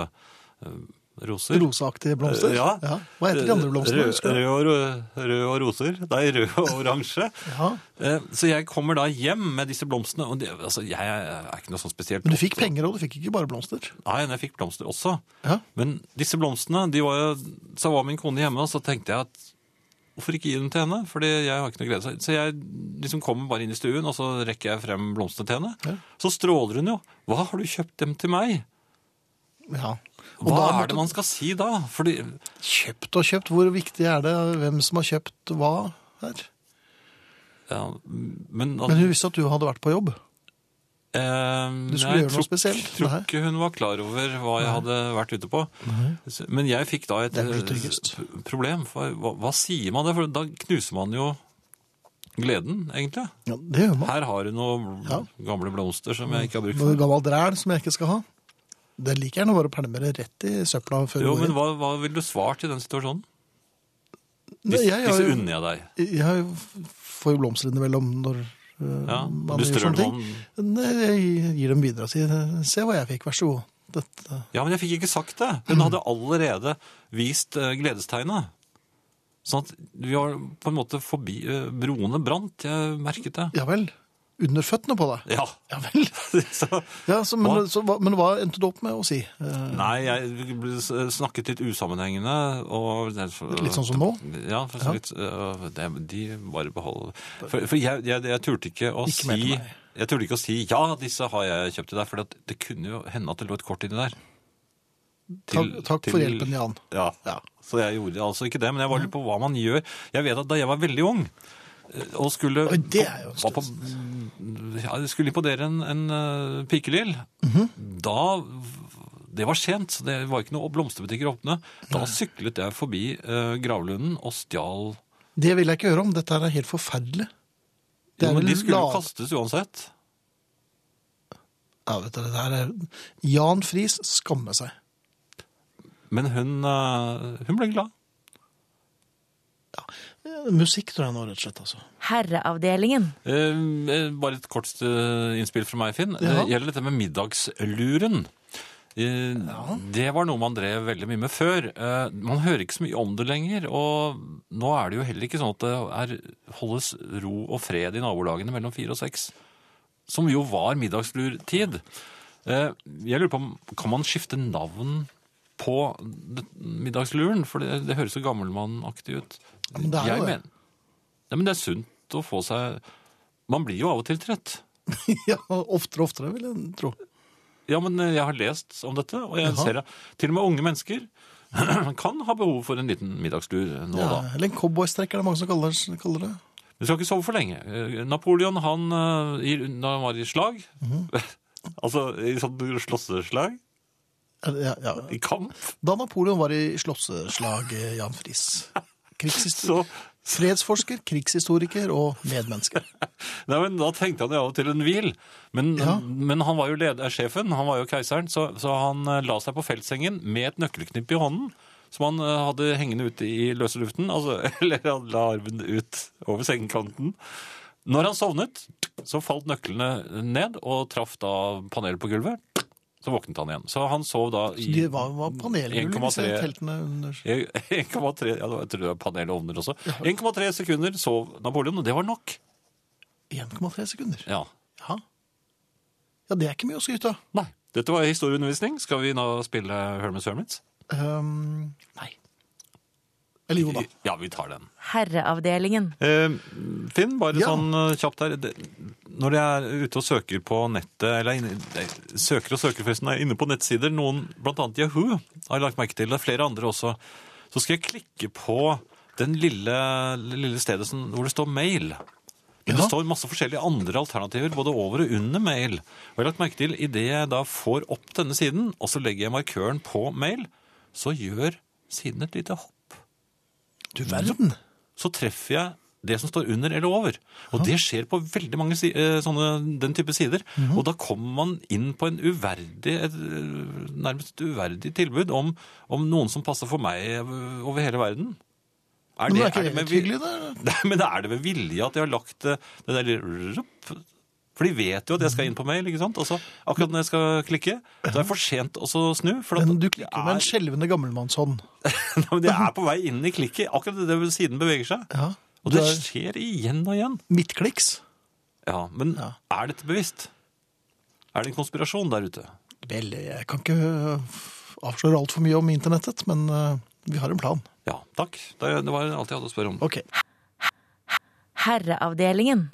Speaker 2: eh, Roser.
Speaker 1: Roseaktige blomster?
Speaker 2: Eh, Ja. Eh,
Speaker 1: Hva heter de andre blomstene?
Speaker 2: Rød,
Speaker 1: Husker du?
Speaker 2: rød, og ro- rød og roser. Nei, rød og oransje.
Speaker 1: Ja.
Speaker 2: Eh, Så jeg kommer da hjem med disse blomstene. Og det, altså, jeg er ikke noe sånn spesielt
Speaker 1: Men du fikk
Speaker 2: opptatt-
Speaker 1: penger, og du fikk ikke bare blomster.
Speaker 2: Nei, men jeg fikk blomster også.
Speaker 1: Ja.
Speaker 2: Men disse blomstene, de var jo, så var min kone hjemme, og så tenkte jeg at hvorfor ikke gi dem til henne? Fordi jeg har ikke noe glede. Så jeg liksom kommer bare inn i stuen, og så rekker jeg frem blomstene til henne.
Speaker 1: Ja.
Speaker 2: Så stråler hun jo. Hva har du kjøpt dem til meg?
Speaker 1: Ja. Og
Speaker 2: Hva
Speaker 1: da
Speaker 2: er det man skal si da? Fordi,
Speaker 1: Kjøpt og kjøpt, hvor viktig er det hvem som har kjøpt hva her?
Speaker 2: ja, men,
Speaker 1: Men hun visste at du hadde vært på jobb.
Speaker 2: Eh,
Speaker 1: Du skulle
Speaker 2: jeg
Speaker 1: gjøre noe
Speaker 2: tror-
Speaker 1: spesielt.
Speaker 2: tror
Speaker 1: Nei.
Speaker 2: ikke hun var klar over hva jeg hadde vært ute på. Så- Men jeg fikk da et
Speaker 1: Det er vel
Speaker 2: eh,
Speaker 1: tryggest.
Speaker 2: p- problem. For hva, hva sier man det? For da knuser man jo gleden, egentlig.
Speaker 1: Ja, det gjør man.
Speaker 2: Her har hun noen
Speaker 1: Ja.
Speaker 2: gamle blomster som jeg ikke har brukt
Speaker 1: Noe
Speaker 2: for.
Speaker 1: gammel dræl som jeg ikke skal ha. Det liker jeg nå bare å pælme det rett i søpla før
Speaker 2: Jo,
Speaker 1: du går
Speaker 2: men
Speaker 1: inn.
Speaker 2: hva, hva ville du svart i den situasjonen?
Speaker 1: Nei,
Speaker 2: Disse,
Speaker 1: jeg, har
Speaker 2: disse
Speaker 1: jo-
Speaker 2: unner jeg deg.
Speaker 1: jeg har jo- får jo blomster innimellom når øh,
Speaker 2: Ja,
Speaker 1: man
Speaker 2: du
Speaker 1: gjør
Speaker 2: strør
Speaker 1: sånne
Speaker 2: dem
Speaker 1: ting.
Speaker 2: om.
Speaker 1: Nei, jeg gir dem videre og sier se hva jeg fikk, vær så god. Dette.
Speaker 2: Ja, men jeg fikk ikke sagt det. Hun
Speaker 1: Mm.
Speaker 2: hadde allerede vist eh, gledestegnet. Sånn at vi var på en måte forbi eh, Broene brant, jeg merket det.
Speaker 1: Ja vel. Under føttene på deg.
Speaker 2: Ja.
Speaker 1: Ja vel.
Speaker 2: Så,
Speaker 1: Ja, så, men,
Speaker 2: Hva?
Speaker 1: Så, hva- men hva endte du opp med å si? Eh,
Speaker 2: Nei, jeg ble s- snakket litt usammenhengende. Og
Speaker 1: Litt sånn som nå?
Speaker 2: Ja. For så
Speaker 1: Ja.
Speaker 2: vidt, øh, det- de bare beholder For, for jeg, jeg, jeg turte ikke å
Speaker 1: Ikke mer til
Speaker 2: si
Speaker 1: meg.
Speaker 2: Jeg turte ikke å si 'ja, disse har jeg kjøpt til deg', for det, det kunne jo hende at det lå et kort inni der. til-
Speaker 1: takk takk for
Speaker 2: til-
Speaker 1: hjelpen, Jan.
Speaker 2: Ja.
Speaker 1: Ja.
Speaker 2: Så jeg gjorde altså ikke det, men jeg var litt på hva man gjør. Jeg vet at da jeg var veldig ung eh, og skulle,
Speaker 1: Oi, det er jo en
Speaker 2: var på, ja, skulle imponere en, en eh, pikelill, da Det var sent, så det var ikke noe blomsterbutikker åpne. Da syklet jeg forbi eh, gravlunden og stjal
Speaker 1: Det vil jeg ikke høre om. Dette her er helt forferdelig. Det
Speaker 2: jo,
Speaker 1: er
Speaker 2: men
Speaker 1: vel
Speaker 2: De skulle jo
Speaker 1: la-
Speaker 2: kastes uansett.
Speaker 1: Ja, vet du, det her er... Jan Friis skammer seg.
Speaker 2: Men hun, eh, hun ble glad.
Speaker 1: Eh, Musikk tror jeg nå, rett og slett. altså.
Speaker 3: Herreavdelingen.
Speaker 2: Eh, eh, Bare et kort eh, innspill fra meg, Finn.
Speaker 1: Ja.
Speaker 2: Det gjelder dette med middagsluren. Eh, Det var noe man drev veldig mye med før. Eh, Man hører ikke så mye om det lenger. Og nå er det jo heller ikke sånn at det er, holdes ro og fred i nabolagene mellom fire og seks. Som jo var middagslurtid. Eh, Jeg lurer på om kan man skifte navn på det- middagsluren? For det, det høres så gammelmannaktig ut.
Speaker 1: Ja, men det er
Speaker 2: jeg
Speaker 1: jo det.
Speaker 2: men- ja, men det er sunt å få seg Man blir jo av og til trett.
Speaker 1: ja, Oftere og oftere, vil jeg tro.
Speaker 2: Ja, men eh, jeg har lest om dette, og jeg
Speaker 1: Jaha.
Speaker 2: ser det. Til og med unge mennesker kan ha behov for en liten middagslur nå og
Speaker 1: Ja,
Speaker 2: da.
Speaker 1: Eh, eller en cowboystrekk er det mange som kaller, kaller det.
Speaker 2: Du skal ikke sove for lenge. Eh, Napoleon, han, eh, i- da han var i slag
Speaker 1: Mhm.
Speaker 2: Altså i sånn slåsseslag?
Speaker 1: Er det- Ja, ja.
Speaker 2: I kamp?
Speaker 1: Da Napoleon var i slåsseslag, eh, Jan Friis. Krigshistor...
Speaker 2: Så
Speaker 1: Fredsforsker, krigshistoriker og medmenneske.
Speaker 2: Nei, men Da tenkte han jo av og til en hvil. Men,
Speaker 1: Ja.
Speaker 2: men han var jo leder, eh, sjefen, han var jo keiseren, så, så han eh, la seg på feltsengen med et nøkkelknipp i hånden. Som han eh, hadde hengende ute i løse luften. Altså, eller han la armen ut over sengekanten. Når han sovnet, så falt nøklene ned og traff da panelet på gulvet. Så våknet han igjen. Så han sov da i
Speaker 1: Så de var, var panelgull, disse
Speaker 2: 1,3.
Speaker 1: teltene under.
Speaker 2: 1,3 ja, Jeg tror det var panelovner også. 1,3 sekunder sov Napoleon, og det var nok.
Speaker 1: 1,3 sekunder.
Speaker 2: Ja.
Speaker 1: Ja. ja, det er ikke mye å skryte av.
Speaker 2: Nei. Dette var historieundervisning. Skal vi nå spille Hermes Hermits?
Speaker 1: Ehm, nei. Eller jo da.
Speaker 2: Ja, vi tar den.
Speaker 3: Herreavdelingen.
Speaker 2: Eh, Finn, bare
Speaker 1: Ja.
Speaker 2: sånn eh, kjapt her. Det- Når jeg er ute og søker på nettet, eller inne, nei, søker og søker forresten, er inne på nettsider, noen, blant annet Yahoo, har jeg lagt merke til, det er flere andre også, så skal jeg klikke på den lille, lille stedet som, hvor det står mail. Men
Speaker 1: Ja.
Speaker 2: det står masse forskjellige andre alternativer, både over og under mail. Og jeg har lagt merke til, i det jeg da får opp denne siden, og så legger jeg markøren på mail, så gjør siden et lite hopp
Speaker 1: Du verden.
Speaker 2: så treffer jeg det som står under eller over. Og det skjer på veldig mange si eh, sånne, den type sider.
Speaker 1: Mhm.
Speaker 2: Og da kommer man inn på en uverdig, et, eh, nærmest uverdig tilbud om, om noen som passer for meg eh, over hele verden. Er
Speaker 1: Men det er ikke
Speaker 2: med
Speaker 1: helt
Speaker 2: vil-
Speaker 1: hyggelig, det.
Speaker 2: Nei, men er det ved vilje at de har lagt eh, det der lille rup? For de vet jo at jeg skal inn på mail, ikke sant? Og så akkurat når jeg skal klikke, så er det for sent å så snu. For at
Speaker 1: Men du klikker med en
Speaker 2: jeg
Speaker 1: skjelvende gammelmannshånd.
Speaker 2: er- Nei, men jeg er på vei inn i klikket, akkurat det siden beveger seg.
Speaker 1: Ja.
Speaker 2: Og
Speaker 1: Du
Speaker 2: det
Speaker 1: er
Speaker 2: skjer igjen og igjen.
Speaker 1: midtkliks.
Speaker 2: Ja, Men
Speaker 1: Ja.
Speaker 2: er dette bevisst? Er det en konspirasjon der ute?
Speaker 1: Vel, jeg kan ikke øh, avsløre altfor mye om internettet, men øh, vi har en plan.
Speaker 2: Ja, takk. Det det var alt jeg hadde å spørre om.
Speaker 1: Ok.
Speaker 3: Herreavdelingen.